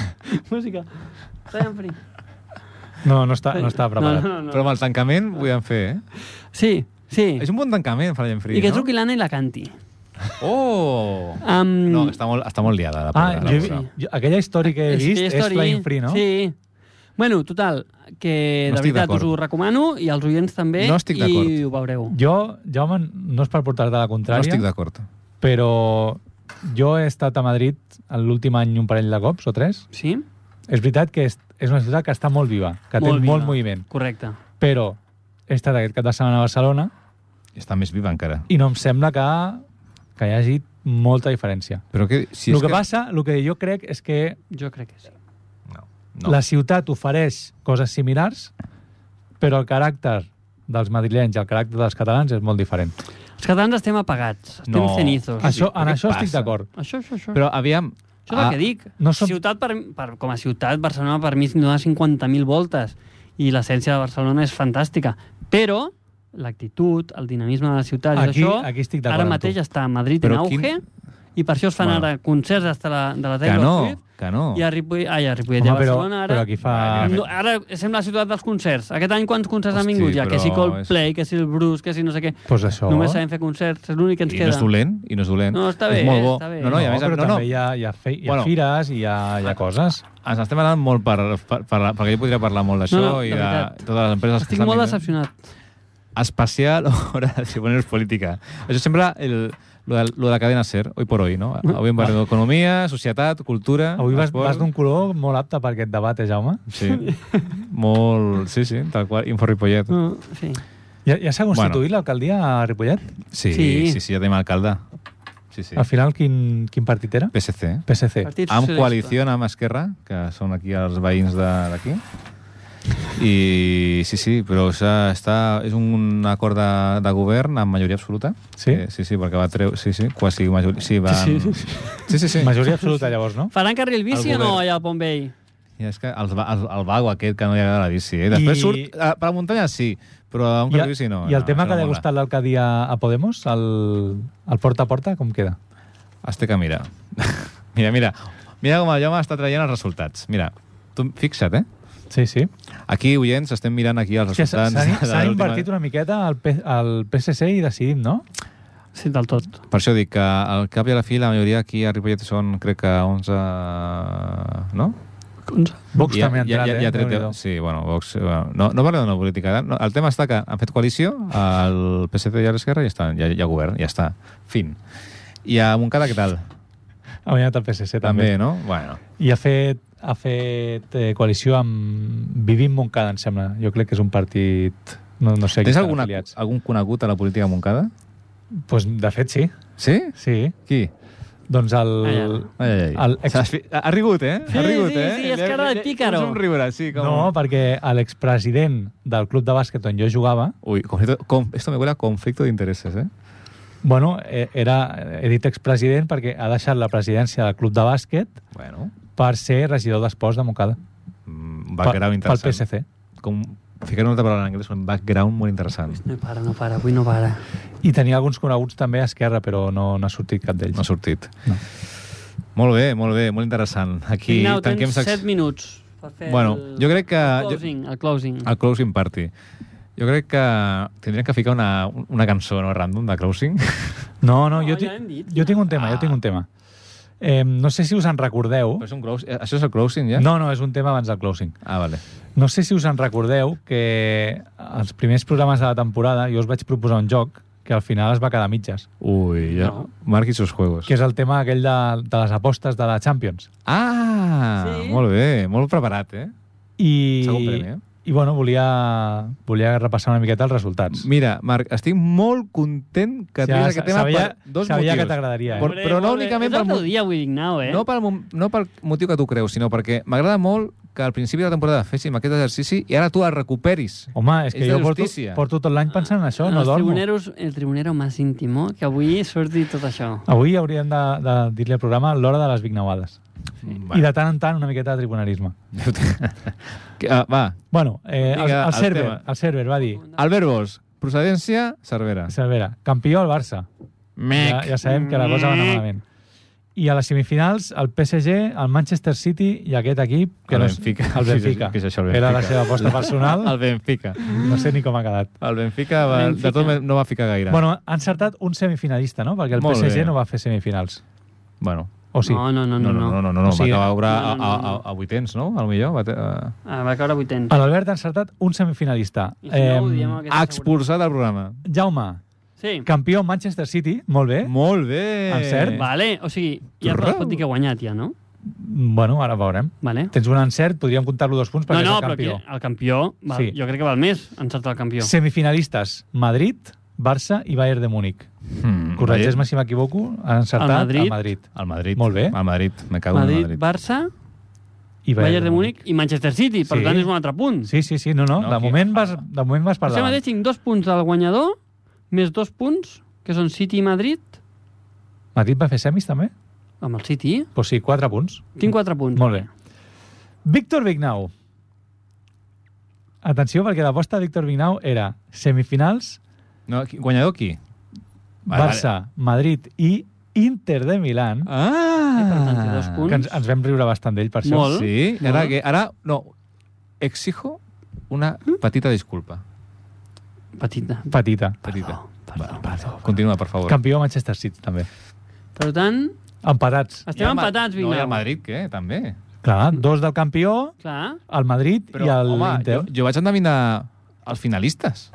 Música. Feien fri. No, no està, no està preparat. No, no, Però no. amb el tancament ho podem fer, eh? Sí, sí. És un bon tancament, Farem Free, I que no? truqui l'Anna i la canti. Oh! Um, No, està molt, està molt liada, la Ah, pobra. la jo, pobra. jo, aquella història que he vist que és, història- Flying Free, no? Sí. Bueno, total, que No de estic veritat us d'acord. ho recomano i als oients també No estic i d'acord. ho veureu. Jo, Jaume, no és per portar-te la No contrària, estic d'acord. però jo he estat a Madrid en l'últim any un parell de cops o tres. Sí? És veritat que és, és una ciutat que està molt viva, que té viva. molt moviment, Correcte. però he estat aquest cap de setmana a Barcelona Està més viva encara. i no em sembla que, que hi hagi molta diferència. Però que, si el és que, passa, el que jo crec és que Jo crec que sí. No, no. no. la ciutat ofereix coses similars, però el caràcter dels madrilenys i el caràcter dels catalans és molt diferent. Els catalans estem apagats, estem No. cenizos. Ah, sí. Això, però en què això estic passa? d'acord. Això, això, això. Però aviam... això és el ah, que dic. no som- Ciutat per, per, com a ciutat, Barcelona per mi dona 50.000 voltes i l'essència de Barcelona és fantàstica. Però l'actitud, el dinamisme de la ciutat, Aquí- és això, aquí estic d'acord ara amb mateix tu. està a Madrid Però en auge quin- i per això es fan Bueno. ara concerts hasta la, de la Que Taylor no, Swift que no. I a Ripoll, ai, a Ripoll, Home, a però, Barcelona, ara... però aquí fa... Vale, Doncs No, ara sembla la ciutat dels concerts. Aquest any quants concerts han Ah. Hosti, vingut ja? Que si però Coldplay, que si el Bruce, que si no sé què. pues això... Només sabem fer concerts, és l'únic que ens I queda. no és dolent, i no és dolent. No, està és bé, molt bo. està bé. No, no, i a més, però no, no, també hi ha, hi ha, fe, hi ha Bueno. Ah, fires, hi ha, hi ha coses. ens estem anant molt per, per, per, perquè jo podria parlar molt d'això No, no, i de de, veritat. totes les empreses que Estic estan molt vivint. decepcionat. Especial hora de poneros política. Això sempre el, lo, de, lo de la cadena SER, hoy por hoy, no? Avui hem parlat d'economia, societat, cultura... Avui vas, esport. vas d'un color molt apte per aquest debat, eh, Jaume? Sí, molt... Sí, sí, tal qual, inforripollet. Mm, sí. Ja, ja s'ha Bueno. constituït l'alcaldia a Ripollet? Sí, Sí. sí, sí, sí ja tenim alcalde. Sí, sí. Al final, quin, quin partit era? PSC. PSC. Partit Amb socialista. coalició amb Esquerra, que són aquí els veïns de- d'aquí. I sí, sí, però s'ha- està, és un acord de, de govern amb majoria absoluta. Sí? Eh, sí, sí, perquè va treure... Sí, sí, quasi majoria... Sí, van... Sí, sí, sí. sí. sí, sí, sí. Majoria absoluta, llavors, no? Faran carril bici El o no govern. allà al Pont Vell? I és que el, el, el vago aquest que no li agrada la bici. Eh? Després I- I... surt... A, per la muntanya sí, però a un carrer bici no. I el no, tema això que no li ha mola. gustat l'alcaldia a Podemos, el, el porta a porta, com queda? Has de que mirar. mira, mira. Mira com el Jaume està traient els resultats. Mira, tu fixa't, eh? Sí, sí. Aquí, oients, estem mirant aquí els Hòstia, s'ha- resultats. S'ha de s'ha l'última- invertit una miqueta al, P, al PSC i decidim, no? Sí, del tot. Per això dic que al cap i a la fi la majoria aquí a Ripollet són, crec que 11... No? Vox I també ha entrat, i- i- i eh? ha tret- Déu-n'hi-do. Sí, bueno, Vox... Bueno, no, no parlem d'una política. eh? No, el tema està que han fet coalició al PSC i a l'Esquerra i ja, està, ja, ja govern, ja està. Fin. I a Montcada, què tal? Ha guanyat el PSC també. També, no? Bueno. I ha fet, ha fet eh, coalició amb Vivim Montcada, em sembla. Jo crec que és un partit... No, no sé a qui Tens estan alguna, afiliats. algun conegut a la política de Montcada? Pues, de fet, sí. Sí? Sí. Qui? Doncs el... Ai, Ai, ai. ai, ai. El ex- S'has fi- Ha ha rigut, eh? Sí, ha rigut, sí, eh? sí, és cara de pícaro. Un somriure, sí. Com... No, perquè l'expresident del club de bàsquet on jo jugava, Uy, conflicto, con- esto me huele a conflicto de intereses, ¿eh? bueno, eh, era, he dit expresident perquè ha deixat la presidència del club de bàsquet Bueno, per ser regidor d'esports de Montcada. mm, background Pel- interesante. Pel PSC. Com, ficar una altra paraula en anglès, un background molt interessant. No para, no para, avui no para. I tenia alguns coneguts també a Esquerra, però no, no ha sortit cap d'ells. No ha sortit. No. Molt bé, molt bé, molt interessant. Aquí Ignau, tanquem... tens sec- 7 minuts per fer Bueno, el, jo crec que- el closing. El closing. El closing party. Jo crec que tindríem que ficar una, una cançó no, random de closing. No, no, No, jo, Ah, ja ti- hem dit. jo tinc un tema, jo tinc Ah. un tema. Eh, no sé si us en recordeu... Però és un closing. eh, Això és el closing, ja? No, no, és un tema abans del closing. Ah, vale. No sé si us en recordeu que als primers programes de la temporada jo us vaig proposar un joc que al final es va quedar a mitges, Ui, ja. No. Marqui sus juegos. que és el tema aquell de, de les apostes de la Champions. Ah, Sí. molt bé, molt preparat, eh? I, Segon premi, eh? i bueno, volia, volia repassar una miqueta els resultats. Mira, Marc, estic molt content que Ja, ja, tries aquest sa- tema sabia- per dos sabia motius. que t'agradaria, eh? Por- Però no únicament És pel, el mo- teu dia avui, Ignau, eh? no, pel, mo- no pel motiu que tu creus, sinó perquè m'agrada molt que al principi de la temporada féssim aquest exercici i ara tu el recuperis. Home, és que És de jo porto, justícia. porto tot l'any pensant en això, no els dormo. tribuneros, el tribunero más íntimo, que avui surti tot això. Avui hauríem de, de dir-li al programa l'hora de les vignauades. Va. I de tant en tant una miqueta de tribunarisme. Que, ah, va, Bueno, eh, el, Vinga, el, el server, tema. el server va dir Albert Bosch, procedència, Cervera. Cervera, campió al Barça. Ja, ja sabem que la cosa va anar malament. I a les semifinals, el PSG, el Manchester City i aquest equip... Que El no és- Benfica. El Benfica. Sí, sí, sí, això, el Era la Benfica. seva aposta personal. El Benfica. No sé ni com ha quedat. El Benfica, va, Benfica. de tot no va ficar gaire. Bueno, han certat un semifinalista, no? Perquè el Molt PSG bé. no va fer semifinals. bueno O sí? No, no, no, no. no, Oh, no, no, no, O no, sigui- va caure No, no, a, no, a, no. a, a vuitens, no? A lo millor va... te- a- Ah, va caure vuitens. L'Albert ha encertat un semifinalista. I si no, ho diem amb Em, aquesta Ha expulsat del programa. Jaume, seguretat. Sí. campió Manchester City, molt bé. Molt bé! Encert. Vale, o sigui, ja Turrau. es pot dir que ha guanyat, ja, no? Bueno, ara veurem. Vale. Tens un encert, podríem comptar-lo dos punts No, perquè és no, el però aquí, campió. el campió, val, Sí. jo crec que val més encertar el campió. Semifinalistes, Madrid, Barça i Bayern de Múnich. Hmm, Corregeix-me si m'equivoco, han encertat El el Madrid, Madrid. Madrid El Madrid. Molt bé. El Madrid. Me cago en el Madrid, Madrid. Barça, i Bayern, de Múnich i Manchester City, per Sí. tant és un altre punt. Sí, sí, sí, no, no, No, de, aquí- moment vas, de moment vas per Per o sigui, davant. mateix tinc dos punts del guanyador, més dos punts, que són City i Madrid, Madrid va fer semis també? amb el City. eh? Pues sí, quatre punts. Tinc quatre punts. Molt bé. Víctor Vignau. Atenció, perquè l'aposta de Víctor Vignau era semifinals, No, qui- guanyador qui? Vale, Barça, Madrid i Inter de Milán. Ah! Eh, per tant, té dos punts. Que ens, ens vam riure bastant d'ell per això. Molt. Sí, ara, Molt. que, ara no, exijo una petita disculpa. Petita. Petita. Ah. Petita. Perdó, Va, perdó. Continua, per favor. Campió Manchester City, també. Per tant, Empatats. I estem el Ma- empatats, Vignau. No, i el Madrid, què? També. Clar, dos del campió, Clar. el Madrid Però, i el home, Inter. jo, jo vaig endevinar els finalistes.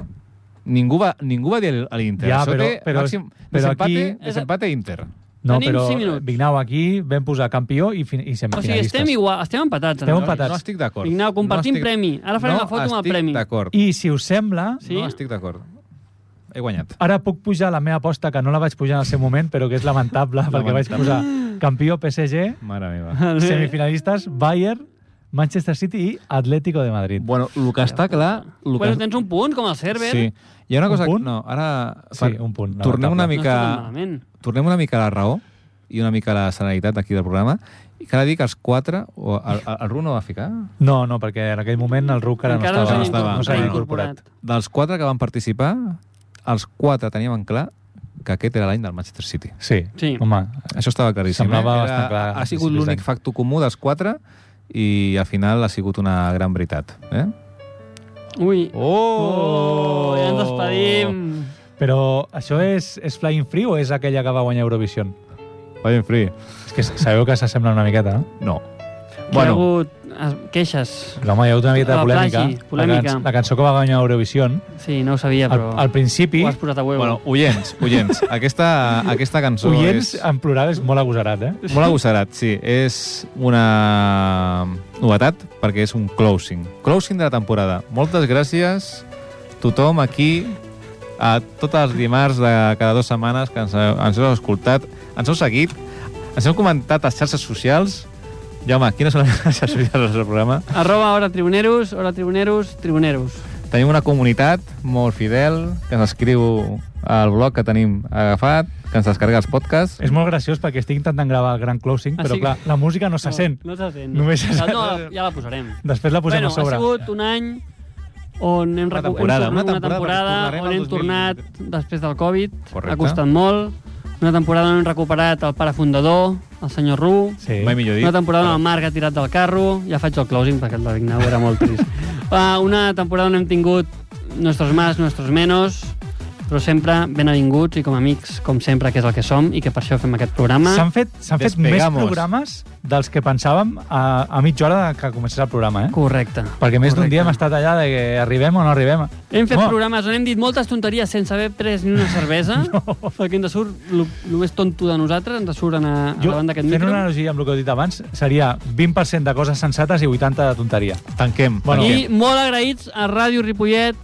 Ningú va, ningú va dir el- a l'Inter. Ja, Això però- té però- màxim però desempate, aquí- desempate Inter. No, Tenim però cinc minuts. Vignau aquí vam posar campió i, fin i O sigui, semifinalistes. estem igual, estem empatats. Estem no? empatats. No estic d'acord. Vignau, compartim no estic... premi. Ara farem no la foto amb el estic premi. d'acord. I si us sembla, Sí? No estic d'acord. He guanyat. ara puc pujar la meva aposta, que no la vaig pujar en el seu moment, però que és lamentable, perquè vaig Lamentable. posar campió PSG, Mare meva. semifinalistes, Bayern, Manchester City i Atlético de Madrid. Bueno, el que està clar... El Bueno, tens un punt, com el server. Sí. Hi ha una Un cosa... punt? No, ara... Sí, un punt, lamentable. Tornem una No eh? mica... està tan malament. tornem una mica a la raó i una mica a la serenitat aquí del programa. I cal dir que els quatre... O el, el, el Ru no va ficar? No, no, perquè en aquell moment el RUC encara, Encara no s'han estava. no no s'ha s'ha incorporat. incorporat. Dels quatre que van participar, els quatre teníem en clar que aquest era l'any del Manchester City. Sí, Sí. home, Això estava claríssim. Semblava eh? bastant clar. Ha sigut Sí, sí, l'únic sí. factor comú dels quatre i al final ha sigut una gran veritat. Eh? Ui. Oh! Oh, ja ens despedim. però això és, és Flying Free o és aquella que va guanyar Eurovision? Flying Free. És que sabeu que s'assembla una miqueta, eh? No. no? Aquí Hi ha Bueno, hagut eh, queixes. Però, home, hi ha hagut una miqueta de La polèmica. plagi, Ah, polèmica. La, canç la cançó que va guanyar Eurovision, Sí, no ho sabia, al, però al principi, ho has posat a huevo. bueno, oients, oients. Aquesta, aquesta cançó oients és... en plural és molt agosarat, eh? Molt agossarat, ah, sí. És una novetat perquè és un closing. Closing de la temporada. Moltes gràcies tothom aquí a tots els dimarts de cada dues setmanes que ens, ens heu escoltat, ens heu seguit, ens heu comentat a xarxes socials. Jaume, quines són les xarxes socials del programa? Arroba hora tribuneros, hora tribuneros, tribuneros. Tenim una comunitat molt fidel que ens escriu al blog que tenim agafat, que ens descarrega els podcasts. És molt graciós perquè estic intentant gravar el gran closing, Ah, però sí? clar, la música no se sent. No, no se sent. Només se sent. No, ja la posarem. Després la posem bueno, a sobre. ha sigut un any on hem Una recu- temporada, hem una tornat una temporada, temporada, perquè tornarem on al hem 2000. tornat després del Covid, Correcte. ha costat molt, una temporada on hem recuperat el pare fundador, el senyor Ru, Sí. Mai millor dit. una temporada on el Marc ha tirat del carro, ja faig el closing perquè el de Vignau era molt trist. Uh, una temporada on hem tingut nostres más, nostres menos, però sempre benvinguts i com a amics, com sempre, que és el que som i que per això fem aquest programa. S'han fet, s'han fet més Despegamos. programes dels que pensàvem a, a mitja hora que començés el programa, eh? Correcte. Perquè més d'un correcte. dia hem estat allà de que arribem o no arribem. Hem fet Home, programes on hem dit moltes tonteries sense haver pres ni una cervesa, no. perquè ens surt el més tonto de nosaltres, ens surt anar a Jo, davant d'aquest fent micro. una analogia amb el que heu dit abans, seria 20% de coses sensates i 80% de tonteria. Tanquem. Bueno, tanquem. I molt agraïts a Ràdio Ripollet,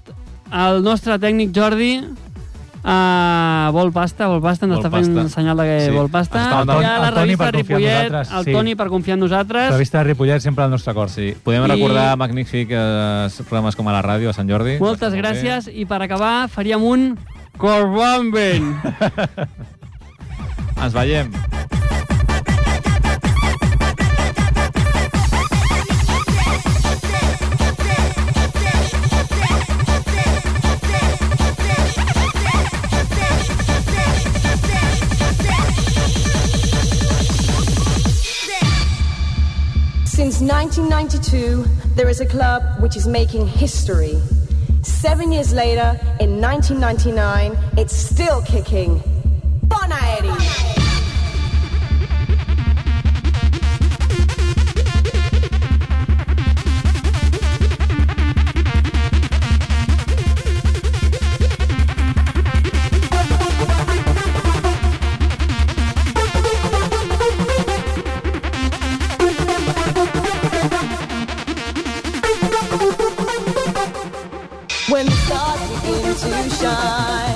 al nostre tècnic Jordi, a Vol Pasta, Vol Pasta, ens Vol està fent Pasta. un senyal de que Sí. sí. Vol Pasta, Està el i Toni- a el la Toni revista per confiar en Ripollet, nosaltres, el sí. Toni per confiar en nosaltres. La vista de Ripollet sempre al nostre cor. Sí, podem I- recordar magnífics eh, programes com a la ràdio a Sant Jordi. Doncs, Moltes Molt bé. gràcies, i per acabar faríem un Corbomben! Ens veiem. Since 1992, there is a club which is making history. Seven years later, in 1999, it's still kicking. Bonaeri! When the stars begin to shine.